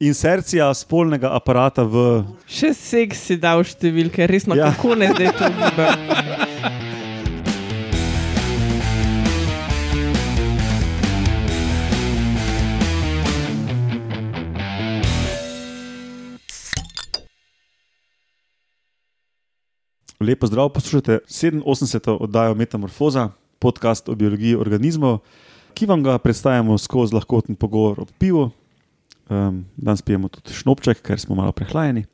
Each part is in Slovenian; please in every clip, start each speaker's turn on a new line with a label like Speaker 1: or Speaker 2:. Speaker 1: insercija spolnega aparata v.
Speaker 2: Še seks si dal številke, resno,
Speaker 1: Ja.
Speaker 2: ja. kako ne zdaj to gibam.
Speaker 1: Lepo zdrav, poslušate 87. oddajo Metamorfoza, podcast o biologiji organizmov, ki vam ga predstavljamo skozi lahkoten pogovor o pivu. Um, danes pijemo tudi šnopček, ker smo malo prehlajeni.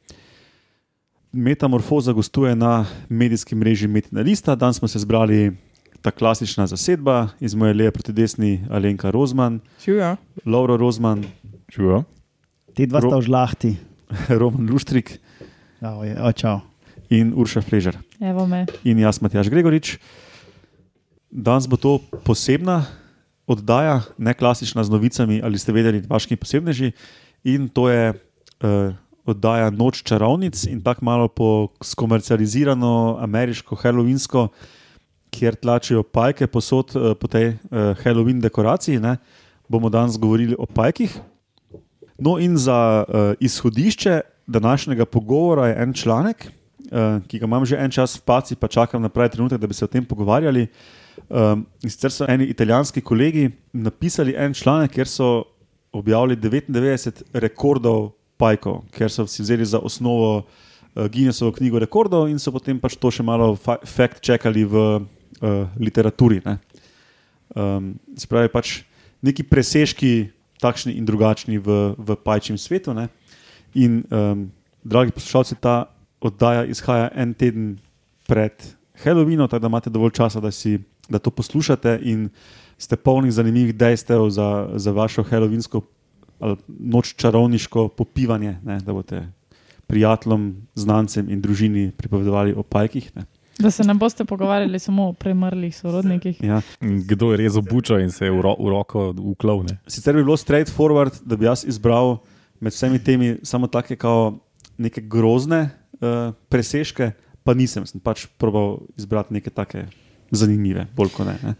Speaker 1: Metamorfoza gostuje na medijski mreži Metina Lista. Danes smo se zbrali ta klasična zasedba, iz moje leve proti desni Alenka Rozman,
Speaker 2: Čujo.
Speaker 1: Laura Rozman,
Speaker 3: Živijo.
Speaker 4: Ti dva
Speaker 1: Ro-
Speaker 4: sta v žlahti.
Speaker 1: Roman Luštrik
Speaker 4: Oj, oj, čau.
Speaker 1: in Urša Fležer.
Speaker 5: Evo me.
Speaker 1: in jaz, Matjaš Gregorič. Danes bo to posebna oddaja, ne klasična z novicami, ali ste vedeli, vaški posebneži. In to je eh, oddaja Noč čarovnic in tako malo po skomercializirano ameriško helovinsko, kjer tlačijo pajke posod eh, po tej eh, helovin dekoraciji. Ne? Bomo danes govorili o pajkih. No, in za eh, izhodišče današnjega pogovora je en članek, eh, ki ga imam že en čas v paci, pa čakam na pravi trenutek, da bi se o tem pogovarjali. Um, in sicer so eni italijanski kolegi napisali en članek, kjer so objavili 99 rekordov pajkov, ker so si vzeli za osnovo eh, Guinnessovo knjigo rekordov in so potem pač to še malo fa- fact-checkali v uh, literaturi. Ne. Um, Spravi pač neki presežki, takšni in drugačni v, v pajčjem svetu. Ne? In, um, dragi poslušalci, ta oddaja izhaja en teden pred Halloweenom, tako da imate dovolj časa, da, si, da to poslušate in ste polni zanimivih dejstev za, za vašo halloweensko ali noč čarovniško popivanje, ne? da boste prijateljem, znancem in družini pripovedovali o pajkih. ne.
Speaker 5: Da se ne boste pogovarjali samo o premrlih sorodnikih.
Speaker 1: Ja.
Speaker 3: Kdo je rezal bučo in se je v, ro, v roko uklovne?
Speaker 1: sicer bi bilo straightforward, da bi jaz izbral med vsemi temi samo take, kao neke grozne uh, presežke, pa nisem, sem pač probal izbrati neke take zanimive, bolj kot ne. ne.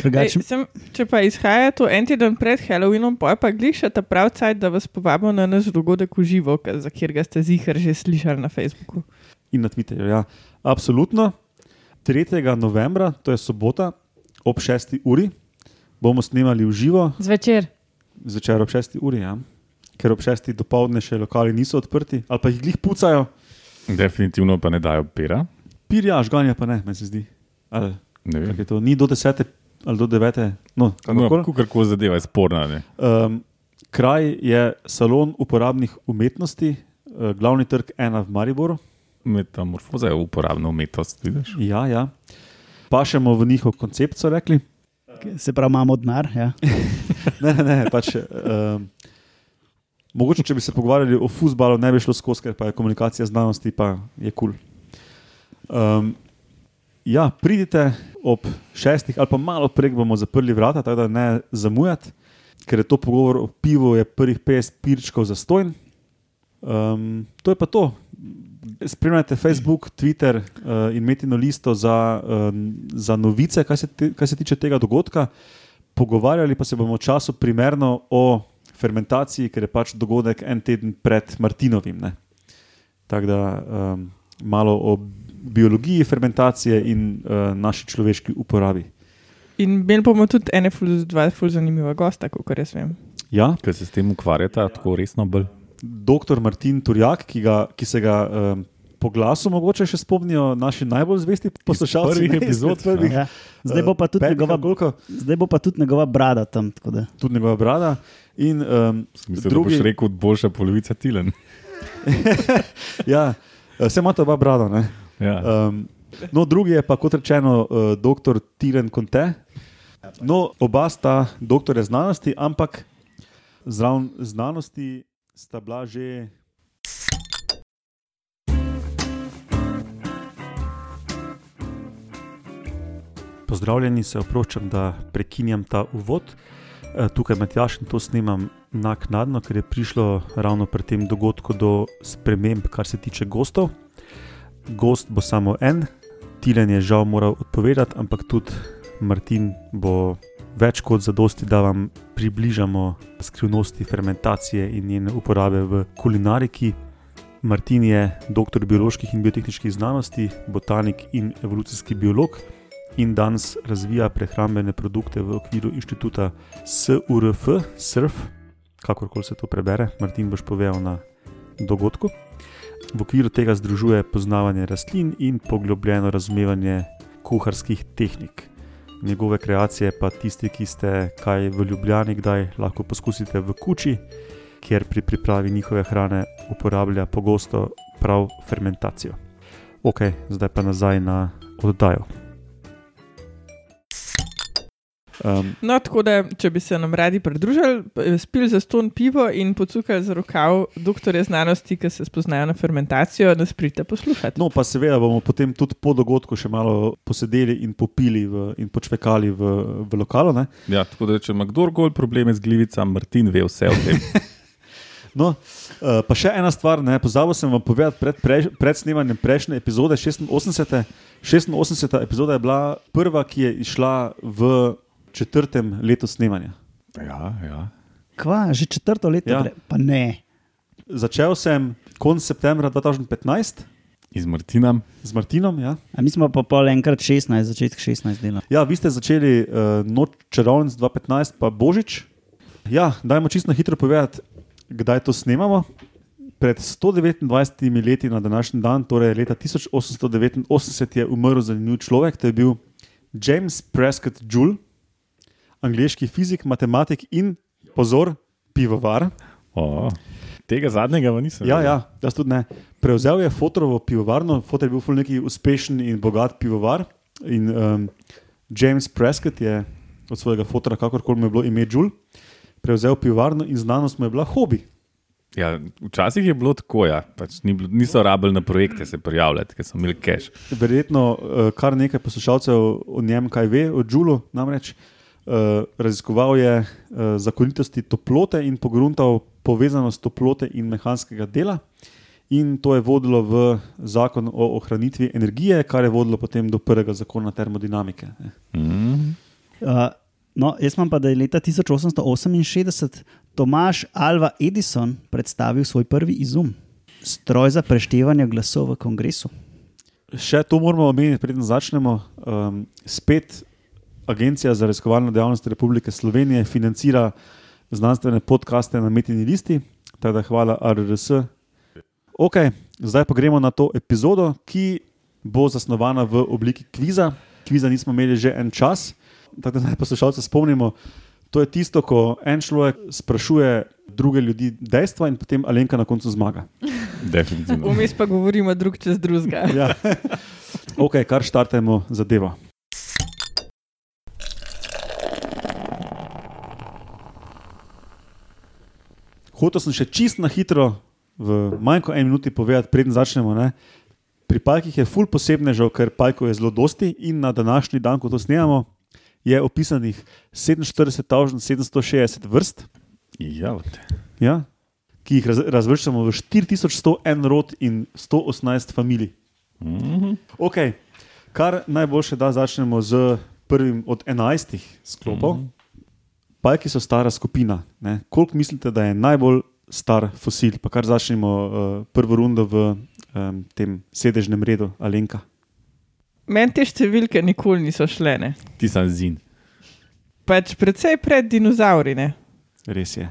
Speaker 4: Drugače,
Speaker 2: Ej, sem, če pa izhaja to en teden pred Halloweenom, pa je pa gliša ta prav cajt, da vas povabimo na naš dogodek v živo, k- za kjer ga ste zihar že slišali na Facebooku.
Speaker 1: In na Twitterju, ja. Absolutno. 3. novembra, to je sobota, ob 6. uri, bomo snemali v živo,
Speaker 5: Zvečer.
Speaker 1: zvečer ob 6. uri, ja. ker ob 6. dopoledne še lokali niso odprti, ali pa jih glih pucajo,
Speaker 3: Definitivno pa ne dajo pera.
Speaker 1: pirja, žganja pa ne, meni se zdi. Ali,
Speaker 3: Ne
Speaker 1: kako
Speaker 3: vem.
Speaker 1: je to? Ni do 10. ali do 9. No, kakorkoli.
Speaker 3: No, Hm. Kako koli zadeva je sporna. Ne?
Speaker 1: Um, kraj je salon uporabnih umetnosti, eh, glavni trg ena v Mariboru.
Speaker 3: Metamorfoza je uporabna umetnost, vidiš?
Speaker 1: Ja, ja. Pašemo v njihov koncept, so rekli.
Speaker 4: se pravi, imamo denar. Ja.
Speaker 1: Ne, ne, ne pač. Um, mogoče, če bi se pogovarjali o futbalu, ne bi šlo skozi, ker pa je komunikacija znanosti, pa je kul. Cool. Um, ja, pridite ob šestih ali pa malo prej bomo zaprli vrata, tako da ne zamujate, ker je to pogovor o pivu, je prvih 50 pirčkov za stojn. Um, to je pa to. Spremljajte Facebook, Twitter uh, in metino listo za, um, za novice, kaj se, te, kaj se tiče tega dogodka. Pogovarjali pa se bomo v času primerno o fermentaciji, ker je pač dogodek en teden pred Martinovim. Ne? Tako da um, malo o biologiji fermentacije in uh, naši človeški uporabi.
Speaker 2: In imeli bomo tudi ene ful, dva ful zanimiva gosta, kot jaz vem.
Speaker 1: Ja,
Speaker 3: Ker se s tem ukvarjata tako resno bolj.
Speaker 1: doktor Martin Turjak, ki, ga, ki se ga um, po glasu mogoče še spomnijo naši najbolj zvesti poslušalci.
Speaker 3: prvih
Speaker 1: ne, izpred
Speaker 3: epizod,
Speaker 1: prvih,
Speaker 4: Ja. Zdaj, bo pa tudi
Speaker 1: petih
Speaker 4: njegova,
Speaker 1: ali koliko,
Speaker 4: zdaj bo pa tudi njegova brada tam. tako da.
Speaker 1: tudi njegova brada. In, um,
Speaker 3: Mislim, Drugi... da boš rekel, boljša polovica tilen.
Speaker 1: ja, vse imate oba brada. Ne?
Speaker 3: Ja.
Speaker 1: Um, no, drugi je pa, kot rečeno, uh, doktor Tiren Conte. No, oba sta doktorja znanosti, ampak zraven znanosti sta bila že. Pozdravljeni, se oproščam, da prekinjam ta uvod. Eh, Tukaj med Jašem to snemam naknadno, ker je prišlo ravno pri tem dogodku do sprememb, kar se tiče gostov gost bo samo en, Tilen je žal moral odpovedati, ampak tudi Martin bo več kot zadosti, da vam približamo skrivnosti fermentacije in njene uporabe v kulinariki. Martin je doktor bioloških in biotehničnih znanosti, botanik in evolucijski biolog in danes razvija prehrambene produkte v okviru inštituta SURF, SURF, kakorkoli se to prebere, Martin boš povedal na dogodku. V okviru tega združuje poznavanje rastlin in poglobljeno razumevanje kuharskih tehnik. Njegove kreacije pa tisti, ki ste kaj v Ljubljani, kdaj lahko poskusite v kuči, kjer pri pripravi njihove hrane uporablja pogosto prav fermentacijo. Ok, zdaj pa nazaj na oddajo. Um,
Speaker 2: No, tako da, če bi se nam radi pridružili, eh, spili za ston pivo in pocukali za rokav doktorje znanosti, ki se spoznajo na fermentacijo, nas pridite poslušati.
Speaker 1: no, pa seveda bomo potem tudi po dogodku še malo posedeli in popili v, in počvekali v, v lokalu. Ne?
Speaker 3: Ja, tako da, če ima kdorkoli probleme z glivicami, Martin ve vse o tem.
Speaker 1: No, eh, pa še ena stvar, ne, pozabil sem vam povedati pred, prej, pred snemanjem prejšnje epizode 86. 86. epizoda je bila prva, ki je išla v četrtem letu snemanja.
Speaker 3: Ja, ja.
Speaker 4: Kva, že četrto leto,
Speaker 1: Ja.
Speaker 4: ja. pa ne.
Speaker 1: Začel sem konec septembra 2015
Speaker 3: Iz Martina.
Speaker 1: z Martinom. Ja,
Speaker 4: A mi smo pa pol enkrat 16, začetek 16 dela.
Speaker 1: ja vi ste začeli uh, noč čarovnic 2015, pa Božič. Ja, dajmo čisto na hitro povedati, kdaj to snemamo. Pred 129 leti na današnji dan, torej leta 1889, je umrl zanimiv človek, to je bil James Prescott Joule, angliški fizik, matematik in, pozor, pivovar.
Speaker 3: O, tega zadnjega pa nisem.
Speaker 1: Ja,
Speaker 3: vedel.
Speaker 1: ja, jaz tudi ne. Prevzel je Fotrovo pivovarno, Fotor je bil ful neki uspešen in bogat pivovar. In um, James Prescott je od svojega fotora, kakorkoli mu je bilo ime Jul, prevzel pivovarno in znanost mu je bila hobi.
Speaker 3: Ja, včasih je bilo tako, ja. pač ni bilo, niso rabili na projekte se prijavljati, ker so imeli cache.
Speaker 1: Verjetno eh, kar nekaj poslušalcev o njem kaj ve, o Julu namreč. eh, Raziskoval je eh, zakonitosti toplote in pogruntal povezanost toplote in mehanskega dela, in to je vodilo v zakon o ohranitvi energije, kar je vodilo potem do prvega zakona termodinamike. ne.
Speaker 3: Mm.
Speaker 4: Uh, no, jaz imam pa, da je leta 1868 Tomaš Alva Edison predstavil svoj prvi izum, stroj za preštevanje glasov v kongresu.
Speaker 1: Še to moramo omeniti, preden začnemo. Um, spet Agencija za raziskovalno dejavnost Republike Slovenije financira znanstvene podkaste na Metini listi, tako da hvala RRS. Ok, zdaj pa gremo na to epizodo, ki bo zasnovana v obliki kviza. Kviza nismo imeli že en čas, tako da naj poslušalce spomnimo. To je tisto, ko en človek sprašuje druge ljudi dejstva, in potem Alenka na koncu zmaga.
Speaker 3: Definitivno.
Speaker 2: Vmes pa govorimo drug čez drugega.
Speaker 1: Ja. ok, kar štartajmo zadevo. Hotel sem še čist na hitro, v manj kot eni minuti povedati, preden začnemo. Ne? Pri pajkih je ful posebnežev, ker pajkov je zelo dosti in na današnji dan, ko to snemamo, je opisanih 47.760 vrst,
Speaker 3: Ja,
Speaker 1: ja? ki jih raz, razvrščamo v 4101 rod in 118 familij.
Speaker 3: mm.
Speaker 1: Ok, kar najboljše, da začnemo z prvim od enajstih sklopov. Mm. Pajki so stara skupina. ne. Koliko mislite, da je najbolj star fosil? Pa kar začnemo uh, prvo rundo v um, tem sedežnem redu, Alenka.
Speaker 2: Meni te številke nikoli niso šlene.
Speaker 3: ti sem zin.
Speaker 2: Pač predvsej pred dinozauri. Ne?
Speaker 1: Res je.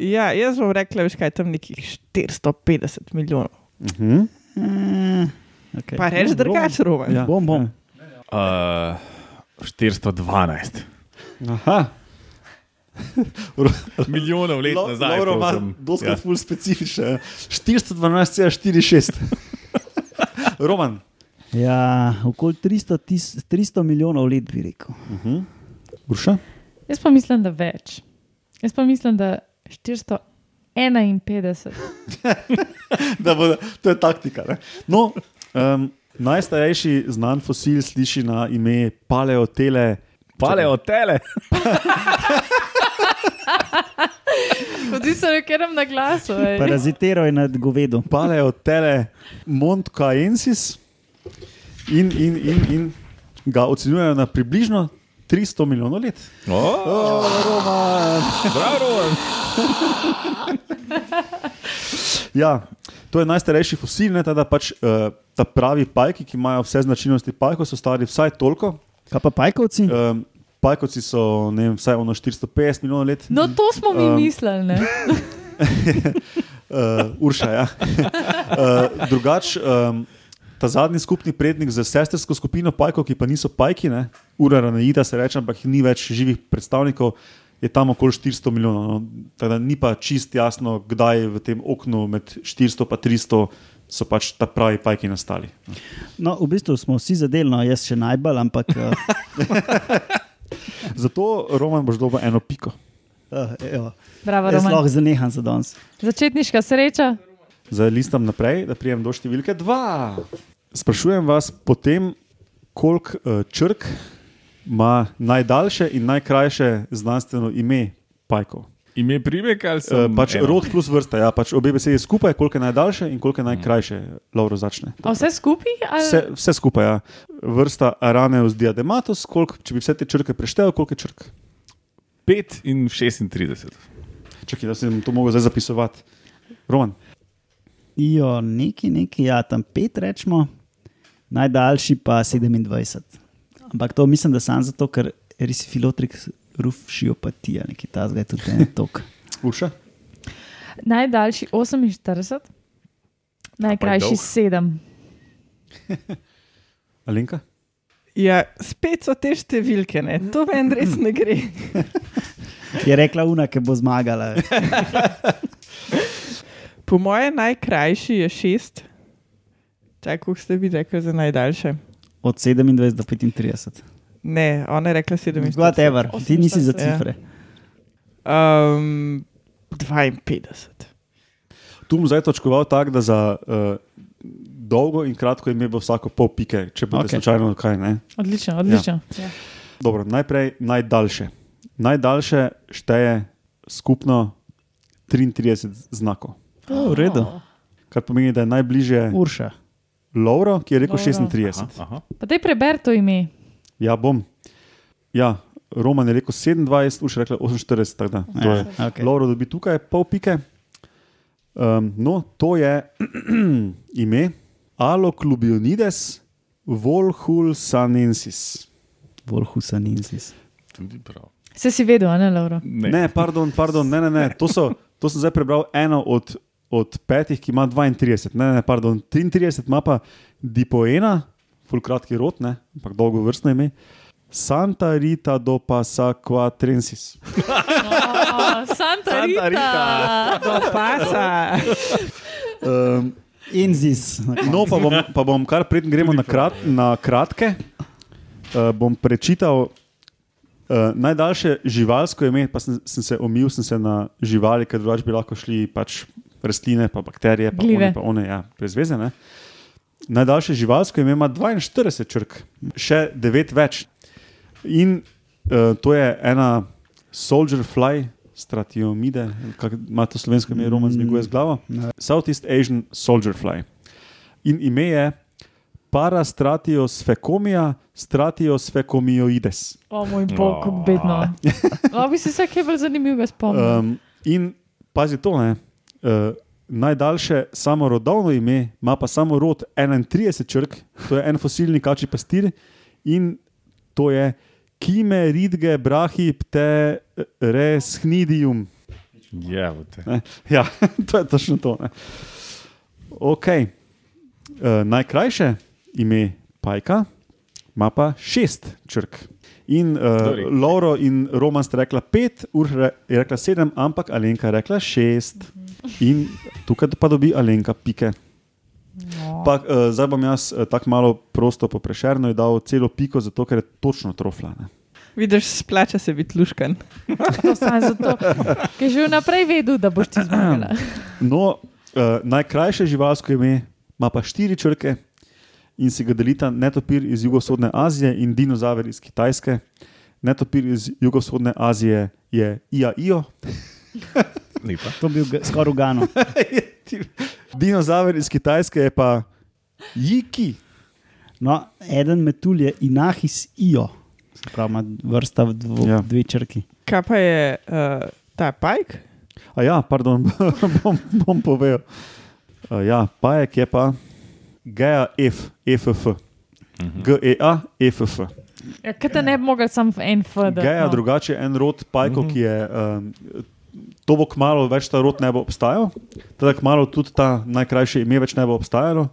Speaker 2: Ja, jaz bom rekla, veš kaj tam nekih 450 milijonov.
Speaker 1: Uh -huh.
Speaker 4: Eh, okay.
Speaker 2: Pa reč drugače, Roman.
Speaker 1: Ja.
Speaker 4: Bom, bom.
Speaker 3: Uh, 412
Speaker 1: Ja. Aha,
Speaker 3: milijonov let nazaj. prosim.
Speaker 1: doskrat ja. ful specifičen. 412,46. Roman.
Speaker 4: Ja, okoli 300, tis, 300 milijonov let bi rekel.
Speaker 1: Uh -huh. Urša?
Speaker 5: Jaz pa mislim, da več. Jaz pa mislim, da 451.
Speaker 1: da bo, to je taktika. Ne? No, um, najstarejši znan fosil sliši na ime paleotele.
Speaker 3: Paleo tele.
Speaker 5: Kot si rekel, na glasu. ej.
Speaker 4: Parazitiral je nad govedom.
Speaker 1: Paleotele Montcaensis in, in, in, in ga ocenjujejo na približno 300 milijonov let.
Speaker 3: Oh,
Speaker 1: Roman.
Speaker 3: bravo, Roman.
Speaker 1: Ja, to je najstarejši fosil, ne, teda pač, uh, ta pravi pajki, ki imajo vse značilnosti pajkov, so stari vsaj toliko.
Speaker 4: Kaj pa pajkovci?
Speaker 1: Um, pajkovci so ne vem, vsaj ono 450 milijonov let.
Speaker 5: No, to smo mi
Speaker 1: Um,
Speaker 5: um, mislili. Ne?
Speaker 1: uh, Urša. Ja. uh, drugač, um, ta zadnji skupni prednik za sestrsko skupino pajkov, ki pa niso pajki, ne, ura ranaida se reče, ampak ni več živih predstavnikov. Je tam okoli 400 milijonov, no. tako da ni pa čist jasno, kdaj v tem oknu med 400 in 300 so pač ta pravi pajki nastali.
Speaker 4: No, v bistvu smo vsi zadelno, jaz še najbolj, ampak uh,
Speaker 1: Zato, Roman, boš dobil eno piko.
Speaker 4: uh, evo,
Speaker 5: Bravo,
Speaker 4: jaz lahko
Speaker 5: Roman.
Speaker 4: zaneham za danes.
Speaker 5: Začetniška sreča.
Speaker 1: Zdaj listam naprej, da prijem do številke 2. Sprašujem vas potem, koliko uh, črk ima najdaljše in najkrajše znanstveno ime pajkov.
Speaker 3: Ime primek ali se.
Speaker 1: Uh, pač rod plus vrsta, ja, pač obe besedi skupaj, koliko je najdaljše in koliko je najkrajše, Lauro začne.
Speaker 5: A vse skupaj? ali-
Speaker 1: Vse, vse skupaj, ja. vrsta Araneus diadematus, koliko, če bi vse te črke preštel, koliko je črk?
Speaker 3: 5 in 36.
Speaker 1: Čakaj, da sem to mogel zdaj zapisovati. Roman,
Speaker 4: Jo, neki, neki, ja, tam pet rečemo, najdaljši pa 27. Ampak to mislim, da samo zato, ker risifilotrik rufšiopatija, neki ta zgaj tudi ne tok.
Speaker 1: Urša,
Speaker 5: Najdaljši 48, najkrajši 7.
Speaker 3: dolg.
Speaker 1: Alenka.
Speaker 2: Ja, spet so te številke, ne? to meni res ne gre.
Speaker 4: Je rekla Una, ki bo zmagala.
Speaker 2: Po mojem najkrajši je šest. Tako ste vi rekli za najdaljše.
Speaker 4: Od 27 do 35.
Speaker 2: Ne, ona je rekla sedem.
Speaker 4: Whatever, ti nisi za
Speaker 5: 48,
Speaker 2: ja.
Speaker 4: cifre.
Speaker 2: Um, 52.
Speaker 1: Tu bom zdaj točkoval tako, da za uh, dolgo in kratko ime bo vsako pol pike, če bo okay.
Speaker 4: Ok.
Speaker 1: slučajno kaj. Ne?
Speaker 5: Odlično, odlično. Ja.
Speaker 1: Dobro, najprej najdaljše. Najdaljše šteje skupno 33 znakov,
Speaker 4: O, v redu.
Speaker 1: kar pomeni, da je najbližje
Speaker 4: Urša.
Speaker 1: Lauro, ki je rekel
Speaker 5: Lovro.
Speaker 1: 36. Aha.
Speaker 3: Aha.
Speaker 5: Pa daj preber to ime.
Speaker 1: Ja, bom. Ja, Roman je rekel 27, už je rekla 48, tako da to je. Okay.
Speaker 4: Okay.
Speaker 1: Lauro dobi tukaj pol pike. Um, no, to je ime Aloklubionides volhulsanensis.
Speaker 4: Volhusanensis.
Speaker 3: Tudi prav.
Speaker 5: Se si vedel, a ne, Laura?
Speaker 1: Ne. ne, pardon, pardon, ne, ne, ne. To, so, to sem zdaj prebral eno od, od petih, ki ima 32, ne, ne, pardon, 33 ima pa dipoena, fulkratki rot, ne, ampak dolgo vrstno ime. Santa Rita do Pasa Quatrensis.
Speaker 5: Oh, Santa Rita.
Speaker 3: Rita.
Speaker 2: Do pasa.
Speaker 4: Ehm,
Speaker 1: Um,
Speaker 4: Enzis.
Speaker 1: No, pa bom, pa bom kar preden gremo na, krat, na kratke, uh, bom prečital uh, najdaljše živalsko ime, pa sem, sem se omil sem se na živali, ker drugače bi lahko šli pač rastline, pa bakterije, pa
Speaker 5: Glive.
Speaker 1: one, pa one, ja, prezvezene. Najdaljše živalsko ime ima 42 črk, še 9 več. In uh, to je ena soldier fly, stratiomide, kako ima to slovensko ime, roman zmiguje z glavo. Southeast Asian soldier fly. In ime je parastratiosfekomija, stratiosfekomioides.
Speaker 5: O moj bog,
Speaker 4: No.
Speaker 5: kako bedno. O, bi se vse kaj bolj zanimivega spomnil. Um,
Speaker 1: Um, in pazi to, ne. Uh, najdaljše samorodovno ime ima pa samo rod 31 črk, to je en fosilni kači pastir in to je Kime, Ridge, Brahi, Pte, Res, Hnidium.
Speaker 3: Je, bote.
Speaker 1: Ne? Ja, to je točno to. Ne? Ok. Uh, najkrajše ime Pajka ima pa šest črk. In uh,
Speaker 3: Dorik.
Speaker 1: Lauro in Roman sta rekla pet, Urša je rekla sedem, ampak Alenka je rekla šest. In tukaj pa dobi Alenka pike.
Speaker 5: No,
Speaker 1: Pa, uh, zdaj bom jaz uh, tako malo prosto poprešerno in dal celo piko, zato ker je točno trofla. Ne?
Speaker 2: Vidiš, splača se biti luškan.
Speaker 5: to sem zato, ker že vnaprej vedel, da boš ti zmagala.
Speaker 1: No, uh, najkrajše živalsko ime ima pa štiri črke in si ga delita netopir iz jugovzhodne Azije in dinozaver iz Kitajske. Netopir iz jugovzhodne Azije je IAIO,
Speaker 3: Lepa.
Speaker 4: To bi bil skoraj ugano.
Speaker 1: dinozaver iz Kitajske je pa Jiki.
Speaker 4: No, eden metulj je Inahis Io. Se pravi, ima vrsta v dvo,
Speaker 1: Ja.
Speaker 4: ja. dve črki.
Speaker 2: Kaj pa je uh, ta pajk?
Speaker 1: A ja, pardon, bom, bom povedal. Uh, ja, pajek je pa GAF, FF. GEA, FF.
Speaker 5: Ja, kaj te ne bi mogel sam v en FD?
Speaker 1: Geja, no. drugače en rod pajkov,
Speaker 3: Mhm.
Speaker 1: ki je. Um, to bo kmalo, več ta rod ne bo obstajal, tako kmalo tudi ta najkrajše ime več ne bo obstajalo.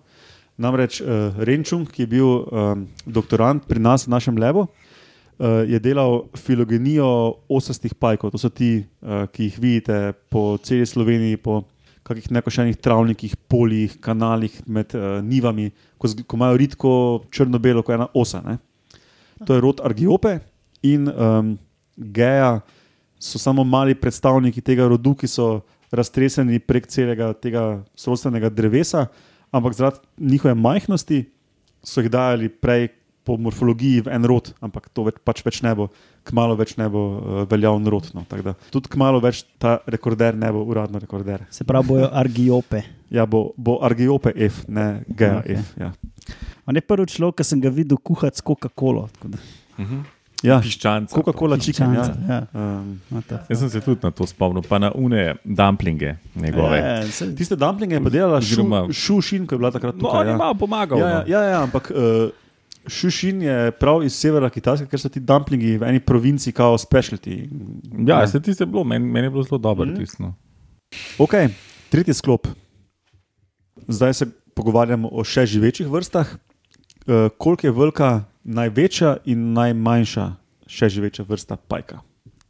Speaker 1: Namreč uh, Renčung, ki je bil um, doktorant pri nas v našem lebu, uh, je delal filogenijo osastih pajkov. To so ti, uh, ki jih vidite po celi Sloveniji, po kakih nekošenih travnikih, poljih, kanalih med uh, nivami, ko, zg- ko imajo redko črno-belo, ko je ena osa. Ne? To je rod Argiope in um, Geja so samo mali predstavniki tega rodu, ki so raztreseni prek celega tega sorodstvenega drevesa, ampak zaradi njihove majhnosti so jih dajali prej po morfologiji v en rod, ampak to več, pač več ne bo, kmalo več ne bo uh, veljavn rod. No, tako da Tudi kmalo več ta rekorder ne bo uradno rekorder.
Speaker 4: Se pravi, bojo argiope.
Speaker 1: Ja, bo, bo Argiope F, ne GAF. Okay. Ja.
Speaker 4: On je prvi človek, ki sem ga videl kuhati s Coca-Colo. tako da-
Speaker 1: Ja,
Speaker 3: Piščanca.
Speaker 1: Coca-Cola chicken. Ja.
Speaker 4: Piščanca, ja.
Speaker 1: Um,
Speaker 4: what the fuck.
Speaker 3: Jaz sem se tudi na to spomnil, pa na une dumplinge
Speaker 1: E,
Speaker 3: njegove.
Speaker 4: Ja, saj-
Speaker 1: tiste dumplinge je pa delala
Speaker 3: Oziroma-
Speaker 1: Šu- Šušin, ko je bila takrat
Speaker 3: No,
Speaker 1: tukaj.
Speaker 3: on je
Speaker 1: ja.
Speaker 3: malo pomagal.
Speaker 1: Ja, ja,
Speaker 3: no.
Speaker 1: ja, ja, ampak uh, Šušin je prav iz severa Kitajske, ker so ti dumplingi v eni provinci kao specialty.
Speaker 3: Ja, se ti je bilo, meni, meni je bilo zelo dobro. Mm. Tisto.
Speaker 1: Ok, tretji sklop. Zdaj se pogovarjamo o še živečih vrstah. Uh, koliko je velika največja in najmanjša še živeča vrsta pajka?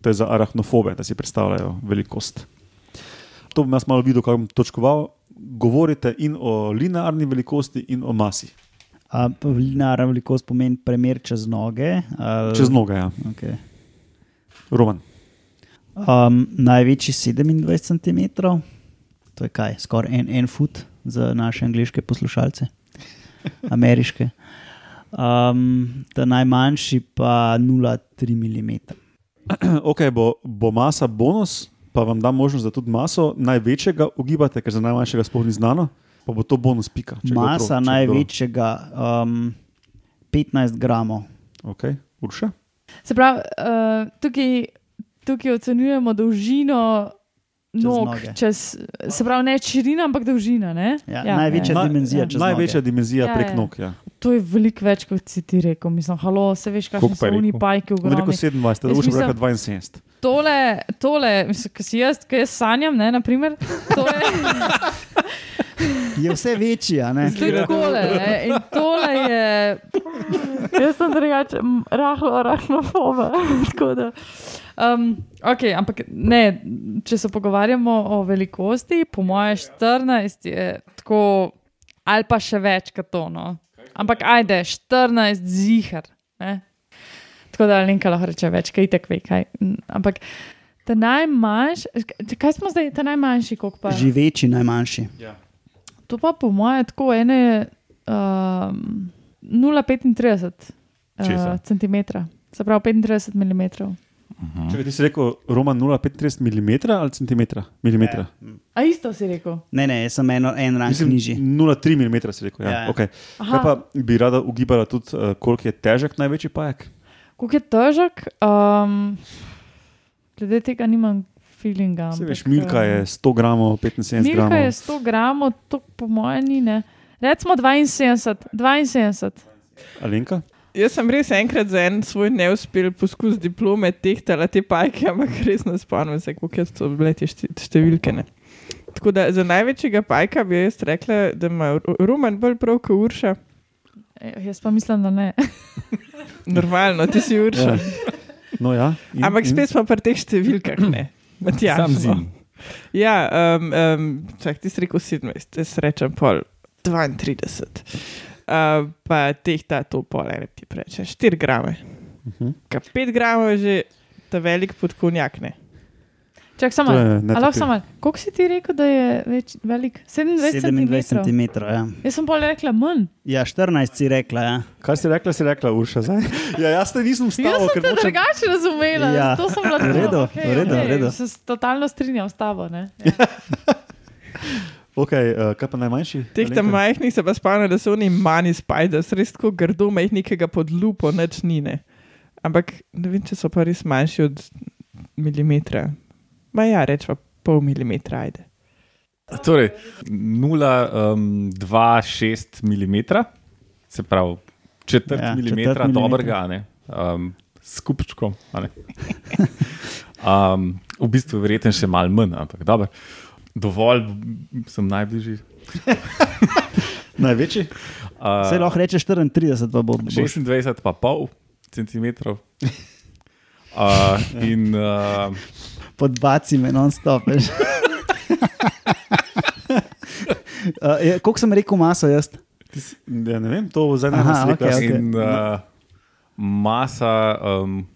Speaker 1: To je za arahnofobe, da si predstavljajo velikost. To bom jaz malo videl, kako bom točkoval. Govorite in o linearni velikosti, in o masi.
Speaker 4: A pa linearna velikost pomeni premer čez noge. Ali...
Speaker 1: Čez noge, ja.
Speaker 4: Okay.
Speaker 1: Roman.
Speaker 4: Um, največji 27 cm, to je kaj, skoraj en, en foot za naše angliške poslušalce, ameriške. Um, ta najmanjši pa 0,3 mm.
Speaker 1: Ok, bo, bo masa bonus, pa vam da možnost, da tudi maso največjega ugibate, ker za najmanjšega sploh ni znano, pa bo to bonus pika. če kdo
Speaker 4: Masa
Speaker 1: prav, če kdo-
Speaker 4: največjega, um, 15 gramov.
Speaker 1: Ok, Urša.
Speaker 5: Se pravi, uh, tukaj, tukaj ocenjujemo dolžino
Speaker 4: Čez
Speaker 5: nog,
Speaker 4: noge.
Speaker 5: čez, se pravi, ne širina, ampak dolžina. Ne?
Speaker 4: Ja, največja
Speaker 5: ja.
Speaker 1: Na-
Speaker 4: dimenzija čez
Speaker 1: Največja
Speaker 4: noge.
Speaker 1: dimenzija
Speaker 5: Ja,
Speaker 1: ja, prek
Speaker 5: ja.
Speaker 1: nog. Ja.
Speaker 5: To je veliko več, kot si ti rekel. Mislim, halo, se veš, kakšni
Speaker 3: Koliko pa
Speaker 5: so
Speaker 3: je rekel?
Speaker 5: oni pajki v
Speaker 1: Ne rekel
Speaker 5: glavi.
Speaker 1: 27, da
Speaker 5: Jaz
Speaker 1: Urša
Speaker 5: mislim-
Speaker 1: reka 72.
Speaker 5: Tole, tole ki si jaz, ki jaz sanjam, ne, naprimer, to je
Speaker 4: Je vse večja, ne?
Speaker 5: tudi tole. Ne, in tole je. Jaz sem drugače m, rahlo, rahlo foba. Um, okay, ampak ne, če se pogovarjamo o velikosti, po moje 14 je tako, ali pa še več kot to. No. Ampak ajde, 14 zihar. Ne? Tako da Linka lahko reče več, kaj itek ve. Kaj. Mm, Ampak ta najmanjši, kaj smo zdaj, ta najmanjši, koliko pa
Speaker 4: Živeči najmanjši.
Speaker 1: Ja.
Speaker 5: To pa po mojem tako ene um, 0,35
Speaker 3: Česa?
Speaker 5: uh, centimetra, se pravi 35 mm.
Speaker 4: Mhm.
Speaker 1: Če ti si rekel, Roman 0,35 mm ali centimetra? Milimetra.
Speaker 5: A isto si rekel?
Speaker 4: Ne, ne, jaz sem eno, en rank
Speaker 1: Mislim,
Speaker 4: Ja, nižji.
Speaker 1: 0,3 mm si rekel. Ja.
Speaker 4: Ja,
Speaker 1: Ja,
Speaker 4: ja.
Speaker 1: ja. Okay.
Speaker 5: Aha.
Speaker 1: Kaj pa bi rada ugibala tudi, eh, koliko je težek največji pajek?
Speaker 5: Koliko je težek? Um, glede tega nimam feelinga.
Speaker 1: Se
Speaker 5: ampak,
Speaker 1: veš, Milka je
Speaker 5: eh,
Speaker 1: 100 gramov, 75
Speaker 5: Milka
Speaker 1: gramov.
Speaker 5: je 100 gramov, to po mojem ni ne. Recimo 72, 72.
Speaker 1: Alenka?
Speaker 2: Jaz sem res enkrat za en svoj neuspel poskus diplome tehtala te pajke, ampak res ne spomnim se, koliko so bile te šti- številke. Ne. Tako da za največjega pajka bi jaz rekla, da ima Ru- Roman bolj prav kot Urša.
Speaker 5: Eh, Jaz pa mislim, da ne.
Speaker 2: Normalno, ti si Urša.
Speaker 1: Ja. No, ja.
Speaker 2: In, ampak spet smo pri teh številkah. Ne. Matjaž,
Speaker 3: Sam
Speaker 2: no.
Speaker 3: zim.
Speaker 2: Ja, um, um, čak, ti si rekel 17, jaz rečem pol 32. Uh, pa tehta to pol, ene ti reče 4 grame.
Speaker 1: Mhm.
Speaker 2: Ka 5 gramov je že ta velik podkonjak. Ne?
Speaker 5: Čak samo.
Speaker 1: To je
Speaker 5: malo, a
Speaker 1: netrpeljivo.
Speaker 5: Lahko samo. malo? Koliko si ti rekel, da je več, velik? 27
Speaker 4: 27
Speaker 5: cm.
Speaker 4: cm. Ja.
Speaker 5: Jaz sem bolj rekla manj.
Speaker 4: ja, 14 si rekla. Ja.
Speaker 1: Kaj si rekla, si rekla, Urša? Zdaj? Ja, jaz te nisem
Speaker 5: Jaz
Speaker 1: vstal,
Speaker 5: sem
Speaker 1: ker
Speaker 5: te
Speaker 1: nočem.
Speaker 5: drugače razumela,
Speaker 4: Ja.
Speaker 5: ja. to sem bila
Speaker 4: V redu,
Speaker 5: tako,
Speaker 4: v redu, v
Speaker 5: okej,
Speaker 4: redu.
Speaker 5: Se s- totalno strinjam s tabo. ne. Ja.
Speaker 1: Okay, uh, kaj pa najmanjši?
Speaker 2: Teh tam
Speaker 1: Alenka?
Speaker 2: majhnih se pa spomnim, da so oni manj spajda, res tako grdo majhnega pod lupo, nič nine. Ampak ne vem, če so pa res manjši od milimetra. Ma ja, rečemo pol milimetra, ajde.
Speaker 3: Torej, 0,26 mm, se pravi četrt
Speaker 4: Ja,
Speaker 3: ja,
Speaker 4: četrt
Speaker 3: milimetra
Speaker 4: milimetra.
Speaker 3: dobrega, a ne, um, s kupčkom. a ne. Um, v bistvu verjeten še malo manj, ampak dobro. Dovolj sem najbližji.
Speaker 4: Največji?
Speaker 3: Uh,
Speaker 4: Vse lahko rečeš 34, pa bo boš.
Speaker 3: 26 pa pol centimetrov. Uh, in uh,
Speaker 4: podbaci me non-stop. veš. Uh, je- Koliko sem rekel, maso jaz?
Speaker 1: Ja, ne vem, to zdaj ne
Speaker 4: Aha,
Speaker 1: znam.
Speaker 4: okej, okej.
Speaker 1: No.
Speaker 3: in uh, masa um,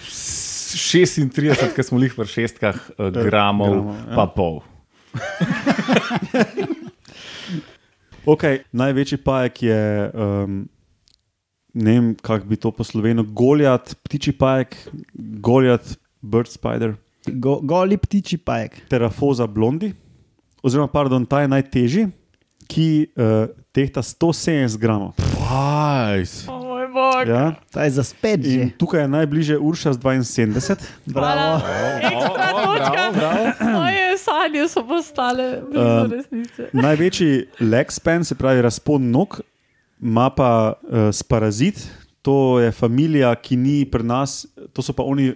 Speaker 3: 36, ki smo jih v šestkah, uh,
Speaker 1: gramov,
Speaker 3: gramov,
Speaker 1: ja.
Speaker 3: pa pol.
Speaker 1: Okay, največji pajek je, um, ne vem, kako bi to posloveno, Goljat, ptiči pajek, Goljat, Bird Spider,
Speaker 4: Go, goli ptiči pajek.
Speaker 1: Terafosa blondi, oziroma, pardon, ta je najtežji, ki uh, tehta 170 gramov.
Speaker 3: Pajs.
Speaker 2: O moj bog,
Speaker 1: Ja?
Speaker 4: Ta je za spet že.
Speaker 1: In tukaj je najbližje Urša z 72.
Speaker 4: Bravo.
Speaker 5: Ekstra točka. Moje sanje so postale blizu
Speaker 1: Um,
Speaker 5: resnice.
Speaker 1: Največji leg span, se pravi razpon nog, ima pa uh, sparazit, to je familija, ki ni pri nas, to so pa oni.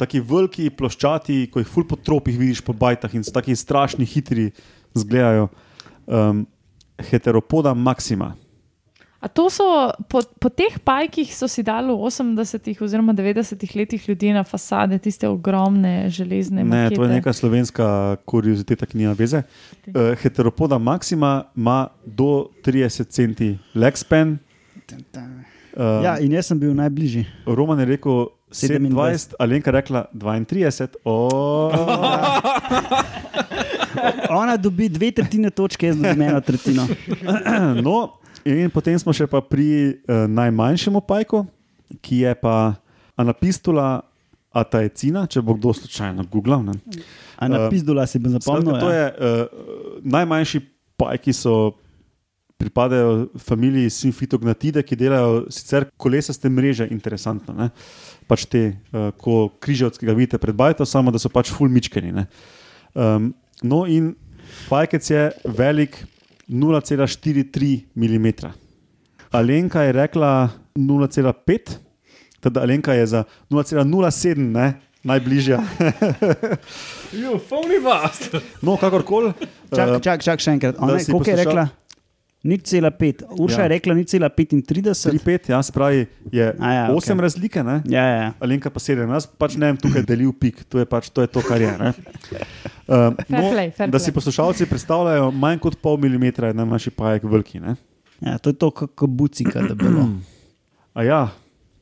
Speaker 1: Taki veliki ploščati, ko jih ful po tropih vidiš, po bajtah in so tako strašni, hitri, zgledajo. Um, heteropoda Maxima.
Speaker 5: A to so po, po teh pajkih so si dali v 80-ih oziroma 90-ih letih ljudi na fasade, tiste ogromne
Speaker 1: Ne,
Speaker 5: železne makete.
Speaker 1: to je neka slovenska kurioziteta, ki nima veze. Uh, heteropoda Maxima ima do 30 centi leg span. Um,
Speaker 4: Ja, in jaz sem bil najbližji.
Speaker 1: Roman je rekel
Speaker 4: 27,
Speaker 1: 27, Alenka je rekla 32. Oh.
Speaker 4: Ona dobi dve tretjine točke, jaz dobim eno tretjino.
Speaker 1: No, in potem smo še pa pri eh, najmanjšem opajku, ki je pa anapistula ataecina, če bo kdo slučajno googlal. ne.
Speaker 4: A na pizdula si bom zapomnil.
Speaker 1: Eh, Skratka, to
Speaker 4: ja.
Speaker 1: je eh, najmanjši pajki, so. Pripadajo familiji simfitognatide, ki delajo sicer kolesaste mreže, interesantno. Ne? Pač te, uh, ko križavc, ki ga vidite pred bajto, samo da so pač fulmičkeni. ne. Um, no, in pajkec je velik 0,43 mm. Alenka je rekla 0,5, tako da Alenka je za 0,07 ne, najbližja.
Speaker 3: Jo, foni vas.
Speaker 1: No, kakorkoli.
Speaker 4: Čak, čak, čak, še enkrat.
Speaker 1: da
Speaker 4: Ona je-
Speaker 1: si
Speaker 4: Koliko je
Speaker 1: poslušal-
Speaker 4: rekla? Nič cela pet. Urša
Speaker 1: Ja.
Speaker 4: je rekla nič cela 35.
Speaker 1: 3-5, ja, se pravi, je
Speaker 4: A ja,
Speaker 1: ja, 8 okay.
Speaker 4: okej.
Speaker 1: razlike, ne?
Speaker 4: Ja, ja, ja.
Speaker 1: Alenka pa 7, jaz pač ne vem, tukaj delil pik, to je pač to, je to kar je. ne. Um,
Speaker 5: Fair play, fair
Speaker 1: da si
Speaker 5: play.
Speaker 1: poslušalci predstavljajo, manj kot pol milimetra je najmanjši pajek veliki. Ne?
Speaker 4: ja, to je to, kako bucika, da bi bilo.
Speaker 1: A ja,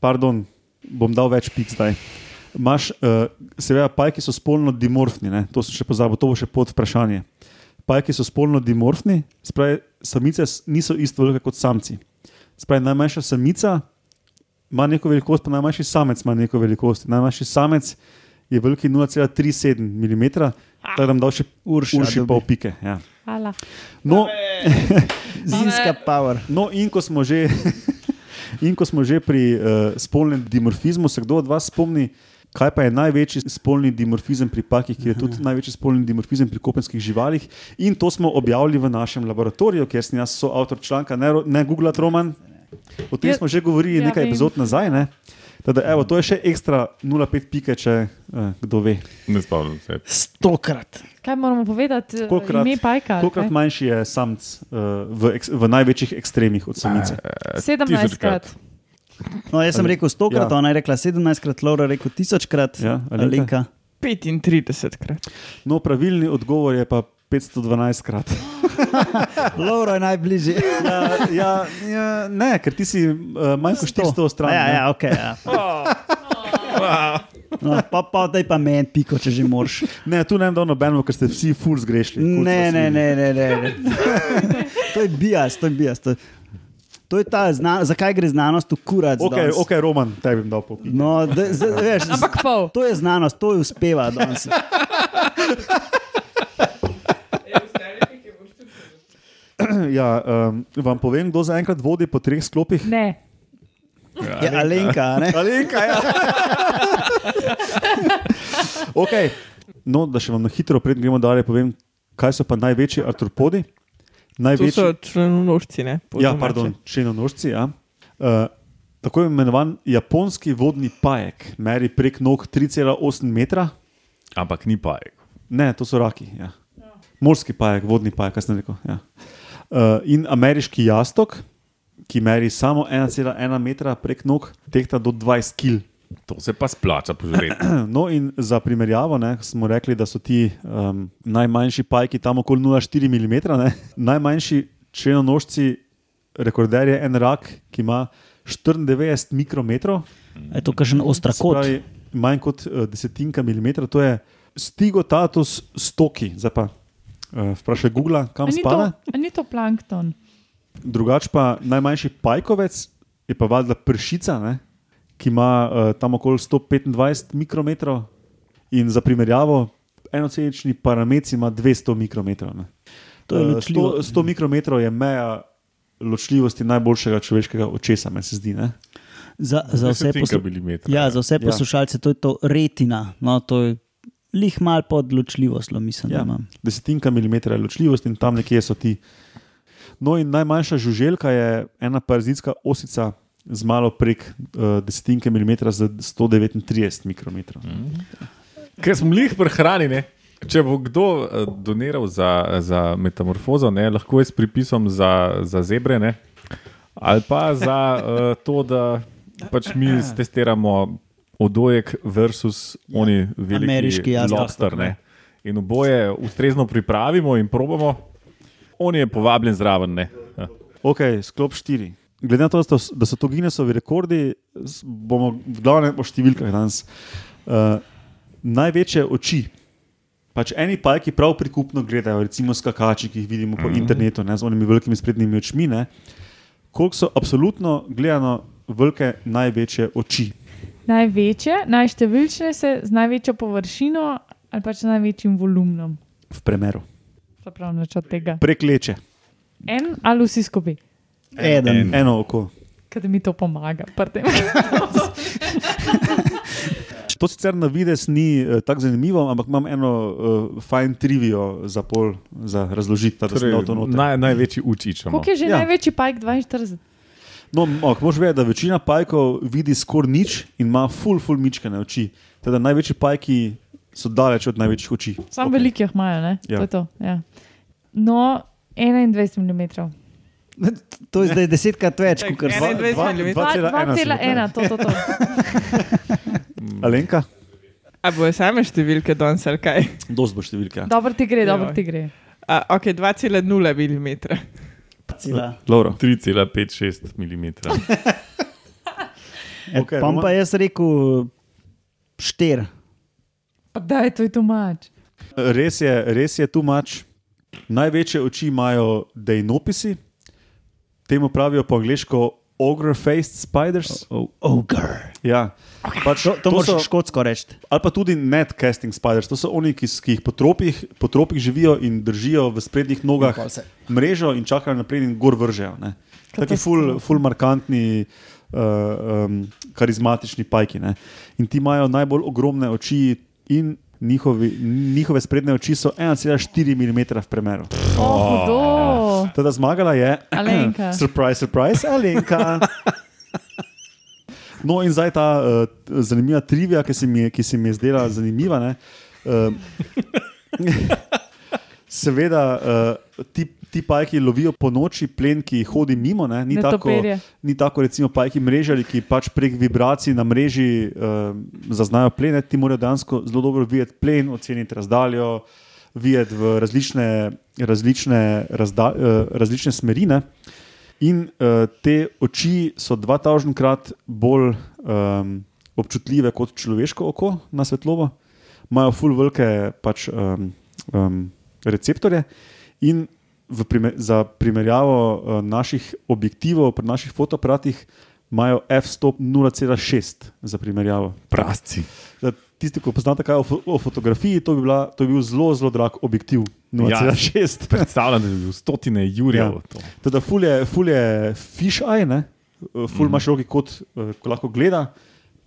Speaker 1: pardon, bom dal več pik zdaj. Maš, uh, seveda, pajki so spolno dimorfni, ne? to sem še pozabil, to bo še pod vprašanje. Pajki so spolno dimorfni, spravi, samice s- niso isto velike kot samci. Spravi, najmanjša samica ima neko velikost, pa najmanjši samec ima neko velikost. Najmanjši samec je veliki 0,37 mm, tako da nam dal še
Speaker 4: Urša
Speaker 1: urši
Speaker 4: dobi.
Speaker 1: pol pike. Ja.
Speaker 5: Hvala.
Speaker 1: No,
Speaker 4: Zimska power.
Speaker 1: No, in ko smo že, in ko smo že pri uh, spolnem dimorfizmu, se kdo od vas spomni, kaj pa je največji spolni dimorfizem pri pakih, ki je tudi največji spolni dimorfizem pri kopenskih živalih. In to smo objavili v našem laboratoriju, kjer sem jaz soavtor članka, ne, ro- ne Google Roman. O tem
Speaker 5: Ja,
Speaker 1: smo že govorili
Speaker 5: ja,
Speaker 1: nekaj
Speaker 5: vem.
Speaker 1: epizod nazaj. Ne? Teda, evo, to je še ekstra 0,5 pike, če uh, kdo ve.
Speaker 3: Ne spomnim se.
Speaker 4: Stokrat.
Speaker 5: Kaj moramo povedati? eh,
Speaker 1: Kolikrat-
Speaker 5: Ime pajka. ali
Speaker 1: Kolikrat
Speaker 5: kaj?
Speaker 1: manjši je samc uh, v, eks, v največjih ekstremih od samice?
Speaker 5: 17 krat.
Speaker 4: No, jaz sem
Speaker 1: Ali-
Speaker 4: rekel stokrat,
Speaker 1: ja.
Speaker 4: ona je rekla sedemnajstkrat, Laura je rekel tisočkrat.
Speaker 1: Ja, Alenka.
Speaker 4: Alenka.
Speaker 2: 35 krat.
Speaker 1: No, pravilni odgovor je pa 512 krat.
Speaker 4: Laura je najbližje.
Speaker 1: Ja, ja, ja, ne, ker ti si uh, manj kot 400 stran.
Speaker 4: Ja,
Speaker 1: ne.
Speaker 4: ja, ok. Ja. No, pa, pa daj pa meni, piko, če že moraš.
Speaker 1: Ne, tu ne vem, da nobeno, ker ste vsi ful zgrešili. Ful ste
Speaker 4: Ne, ne,
Speaker 1: vsi-
Speaker 4: ne, ne, ne. ne. To je bias, to je bias. To je, to je ta znanost, zakaj gre znanost v kurat.
Speaker 1: Ok,
Speaker 4: danes.
Speaker 1: ok, Roman, tebi bom dal popis.
Speaker 4: No, da, z, veš, z-
Speaker 5: Ampak pol.
Speaker 4: to je znanost, to je uspeva danes.
Speaker 1: Ja, um, vam povem, kdo zaenkrat vodi po treh sklopih.
Speaker 5: Ne.
Speaker 4: Ja, Alenka, a ne?
Speaker 1: Alenka, ja. okay. No, da še vam na hitro, preden gremo dalje, povem, kaj so pa največji artropodi.
Speaker 2: To
Speaker 1: Največji,
Speaker 2: so črnonožci, ne? po
Speaker 1: ja,
Speaker 2: domače.
Speaker 1: pardon, črnonožci. Ja. Uh, tako imenovan japonski vodni pajek, meri prek nog 3,8 metra.
Speaker 3: Ampak ni pajek.
Speaker 1: Ne, to so raki. Ja. Morski pajek, vodni pajek, kaj sem rekel. Ja. Uh, in ameriški jastok, ki meri samo 1,1 metra prek nog, tehta do 20 kg.
Speaker 3: To se pa splača požreti.
Speaker 1: No, in za primerjavo ne, smo rekli, da so ti um, najmanjši pajki tam okoli 0,4 mm. Ne. Najmanjši črnonožci, rekorder je en rak, ki ima 94 mikrometrov,
Speaker 4: Je to kakšen ostra
Speaker 1: se
Speaker 4: kot?
Speaker 1: pravi manj kot eh, desetinka milimetra, to je stigotatus stoki. Zdaj pa uh, vprašaj Google,
Speaker 5: A
Speaker 1: kam
Speaker 5: ni, to,
Speaker 1: spada.
Speaker 5: a ni to plankton?
Speaker 1: Drugač pa najmanjši pajkovec je pa valjda pršica, ne? ki ima uh, tam okoli 125 mikrometrov in za primerjavo enocelični paramec ima 200 mikrometrov. ne.
Speaker 4: To je
Speaker 1: Eh,
Speaker 4: ločljivo.
Speaker 1: 100, 100 mikrometrov je meja ločljivosti najboljšega človeškega očesa, meni se zdi. Ne?
Speaker 4: Za, za vse, poslu...
Speaker 3: milimetre.
Speaker 4: ja, za vse
Speaker 1: Ja.
Speaker 4: poslušalce to je to retina, no, to je lih mal pod ločljivost, lo mislim.
Speaker 1: Ja,
Speaker 4: Ja.
Speaker 1: desetinka milimetra je ločljivost in tam nekje so ti. No, in najmanjša žuželka je ena parazitska osica z malo prek uh, desetinke milimetra, z 139 mikrometrov.
Speaker 3: Ker smo jih prehranili. Če bo kdo eh, doniral za, za metamorfozo, ne, lahko je s pripisom za, za zebre, ne, ali pa za uh, to, da pač mi testiramo odojek versus ja, oni veliki
Speaker 4: ameriški jastog.
Speaker 3: lobster. Ne. In oboje ustrezno pripravimo in probamo. On je povabljen zraven. Ne. Ja.
Speaker 1: Ok, sklop 4. Glede na to, da so, da so to Guinnessovi rekordi, s- bomo v glavnem po številkah danes. Uh, največje oči. Pač eni pajki prav prikupno gledajo, recimo skakači, ki jih vidimo po internetu, ne, z onimi velikimi sprednjimi očmi. Ne. Koliko so absolutno gledano velike največje oči?
Speaker 5: Največje, najštevilčnejše, z največjo površino ali pač z največjim volumnom.
Speaker 1: V primeru.
Speaker 5: Se pravi, nič od tega.
Speaker 1: Prekleče,
Speaker 5: En ali vsi skupaj,
Speaker 4: Eden. En.
Speaker 1: eno oko.
Speaker 5: ker mi to pomaga. pri tem.
Speaker 1: To sicer na vides ni eh, tako zanimivo, ampak imam eno uh, fajn trivijo za pol, za razložiti, da se to Torej, noter.
Speaker 3: torej, naj, največji učič. imamo.
Speaker 5: Koliko je že
Speaker 1: Ja.
Speaker 5: ja. največji pajk 42?
Speaker 1: No, ok, moš vedeti, da večina pajkov vidi skoraj nič in ima ful, ful mičkane oči. Teda največji pajki so daleč od največjih oči.
Speaker 5: Sam okay. veliko jih imajo, ne?
Speaker 1: Ja.
Speaker 5: To je to. Ja. No, 21 mm.
Speaker 4: To je zdaj desetkrat več, kot kar
Speaker 1: Dva-
Speaker 4: smo.
Speaker 2: 21
Speaker 1: dva-
Speaker 2: milimetrov.
Speaker 1: 2,1 so bile.
Speaker 5: 2,1, to, to, to.
Speaker 1: Alenka,
Speaker 2: A bojo same številke danes ali kaj?
Speaker 1: dosti bo številka.
Speaker 5: Dobro ti gre, dobro
Speaker 2: Joj.
Speaker 5: ti gre.
Speaker 2: A, ok, 2,0 mm.
Speaker 1: Laura.
Speaker 3: 3,56 mm.
Speaker 1: Okej,
Speaker 4: Ja, Pom pa
Speaker 1: Roman.
Speaker 4: jaz rekel štir.
Speaker 5: Pa daj, to je tumač.
Speaker 1: Res je, res je tu mač. Največje oči imajo dejnopisi, temu pravijo po angliško ogre-faced spiders.
Speaker 4: Oh, Ogre.
Speaker 1: Ja. Pač,
Speaker 4: To, to, to moraš so... škotsko reči.
Speaker 1: ali pa tudi netcasting spiders. To so oni, ki, s- ki jih po tropih, po tropih živijo in držijo v sprednjih nogah
Speaker 4: In pol se-
Speaker 1: mrežo in čakajo naprej in gor vržejo. ne. Taki ful, ful markantni, uh, um, karizmatični pajki. Ne? In ti imajo najbolj ogromne oči in njihovi, njihove sprednje oči so 1,4 mm v premeru.
Speaker 5: O, Oh, hudo.
Speaker 1: Teda zmagala je
Speaker 5: Alenka.
Speaker 1: surprise, surprise, Alenka. No, in zdaj ta uh, zanimiva trivija, ki se mi, je- ki se mi je zdela zanimiva. ne. Uh, seveda, uh, ti, ti pajki lovijo po noči plen, ki hodi mimo. Ne? Ni tako,
Speaker 5: Netoperje.
Speaker 1: ni tako, recimo, pajki mrežari, ki pač prek vibracij na mreži uh, zaznajo plen, ne? ti morajo dejansko zelo dobro videti plen, oceniti razdaljo, videti v različne, različne, razda, uh, različne smeri. Ne? In uh, te oči so 2000 krat bolj um, občutljive kot človeško oko na svetlobo, imajo full velike pač, um, um, receptorje. In v primer, za primerjavo uh, naših objektivov, pri naših fotoaparatih, imajo f-stop 0,6 za primerjavo.
Speaker 3: Prasci.
Speaker 1: Za tiste, ki poznate kaj o, fo o fotografiji, to bi, bila, to bi bil zelo, zelo drag objektiv 0,6.
Speaker 3: Predstavljam, da je bilo stotine jurjev.
Speaker 1: Ja.
Speaker 3: Ja.
Speaker 1: Teda fulje, fulje fish eye, ne? ful imaš
Speaker 3: Mhm.
Speaker 1: roki kot eh, ko lahko gleda.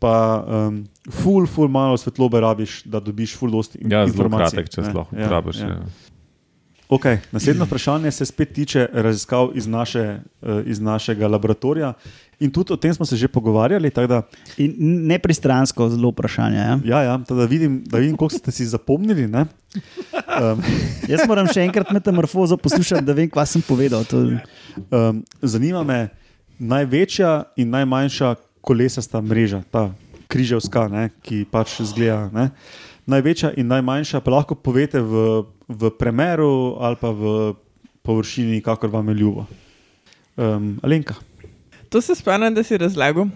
Speaker 1: Pa um, ful, ful malo svetlobe rabiš, da dobiš ful dosti in-
Speaker 3: Ja, zelo
Speaker 1: informacij.
Speaker 3: kratek, če
Speaker 1: Ne,
Speaker 3: sploh
Speaker 1: ja,
Speaker 3: uporabiš.
Speaker 1: ja.
Speaker 3: Ja,
Speaker 1: Okay, naslednje vprašanje se spet tiče raziskav iz, naše, eh, iz našega laboratorija. In tudi o tem smo se že pogovarjali. tako Da,
Speaker 4: In nepristransko zelo vprašanje. Ja?
Speaker 1: ja, ja, tako da, vidim, da vidim, koliko ste si zapomnili. ne. Um,
Speaker 4: Jaz moram še enkrat metamorfozo poslušati, da vem, kaj sem povedal. To,
Speaker 1: um, zanima me največja in najmanjša kolesasta mreža, ta križevska, ne, ki pač zgleda. Ne. Največja in najmanjša, pa lahko povete v, v premeru ali pa v površini, kakor vam je ljubo. Um, Alenka.
Speaker 2: To se spomnim, da si razlagal,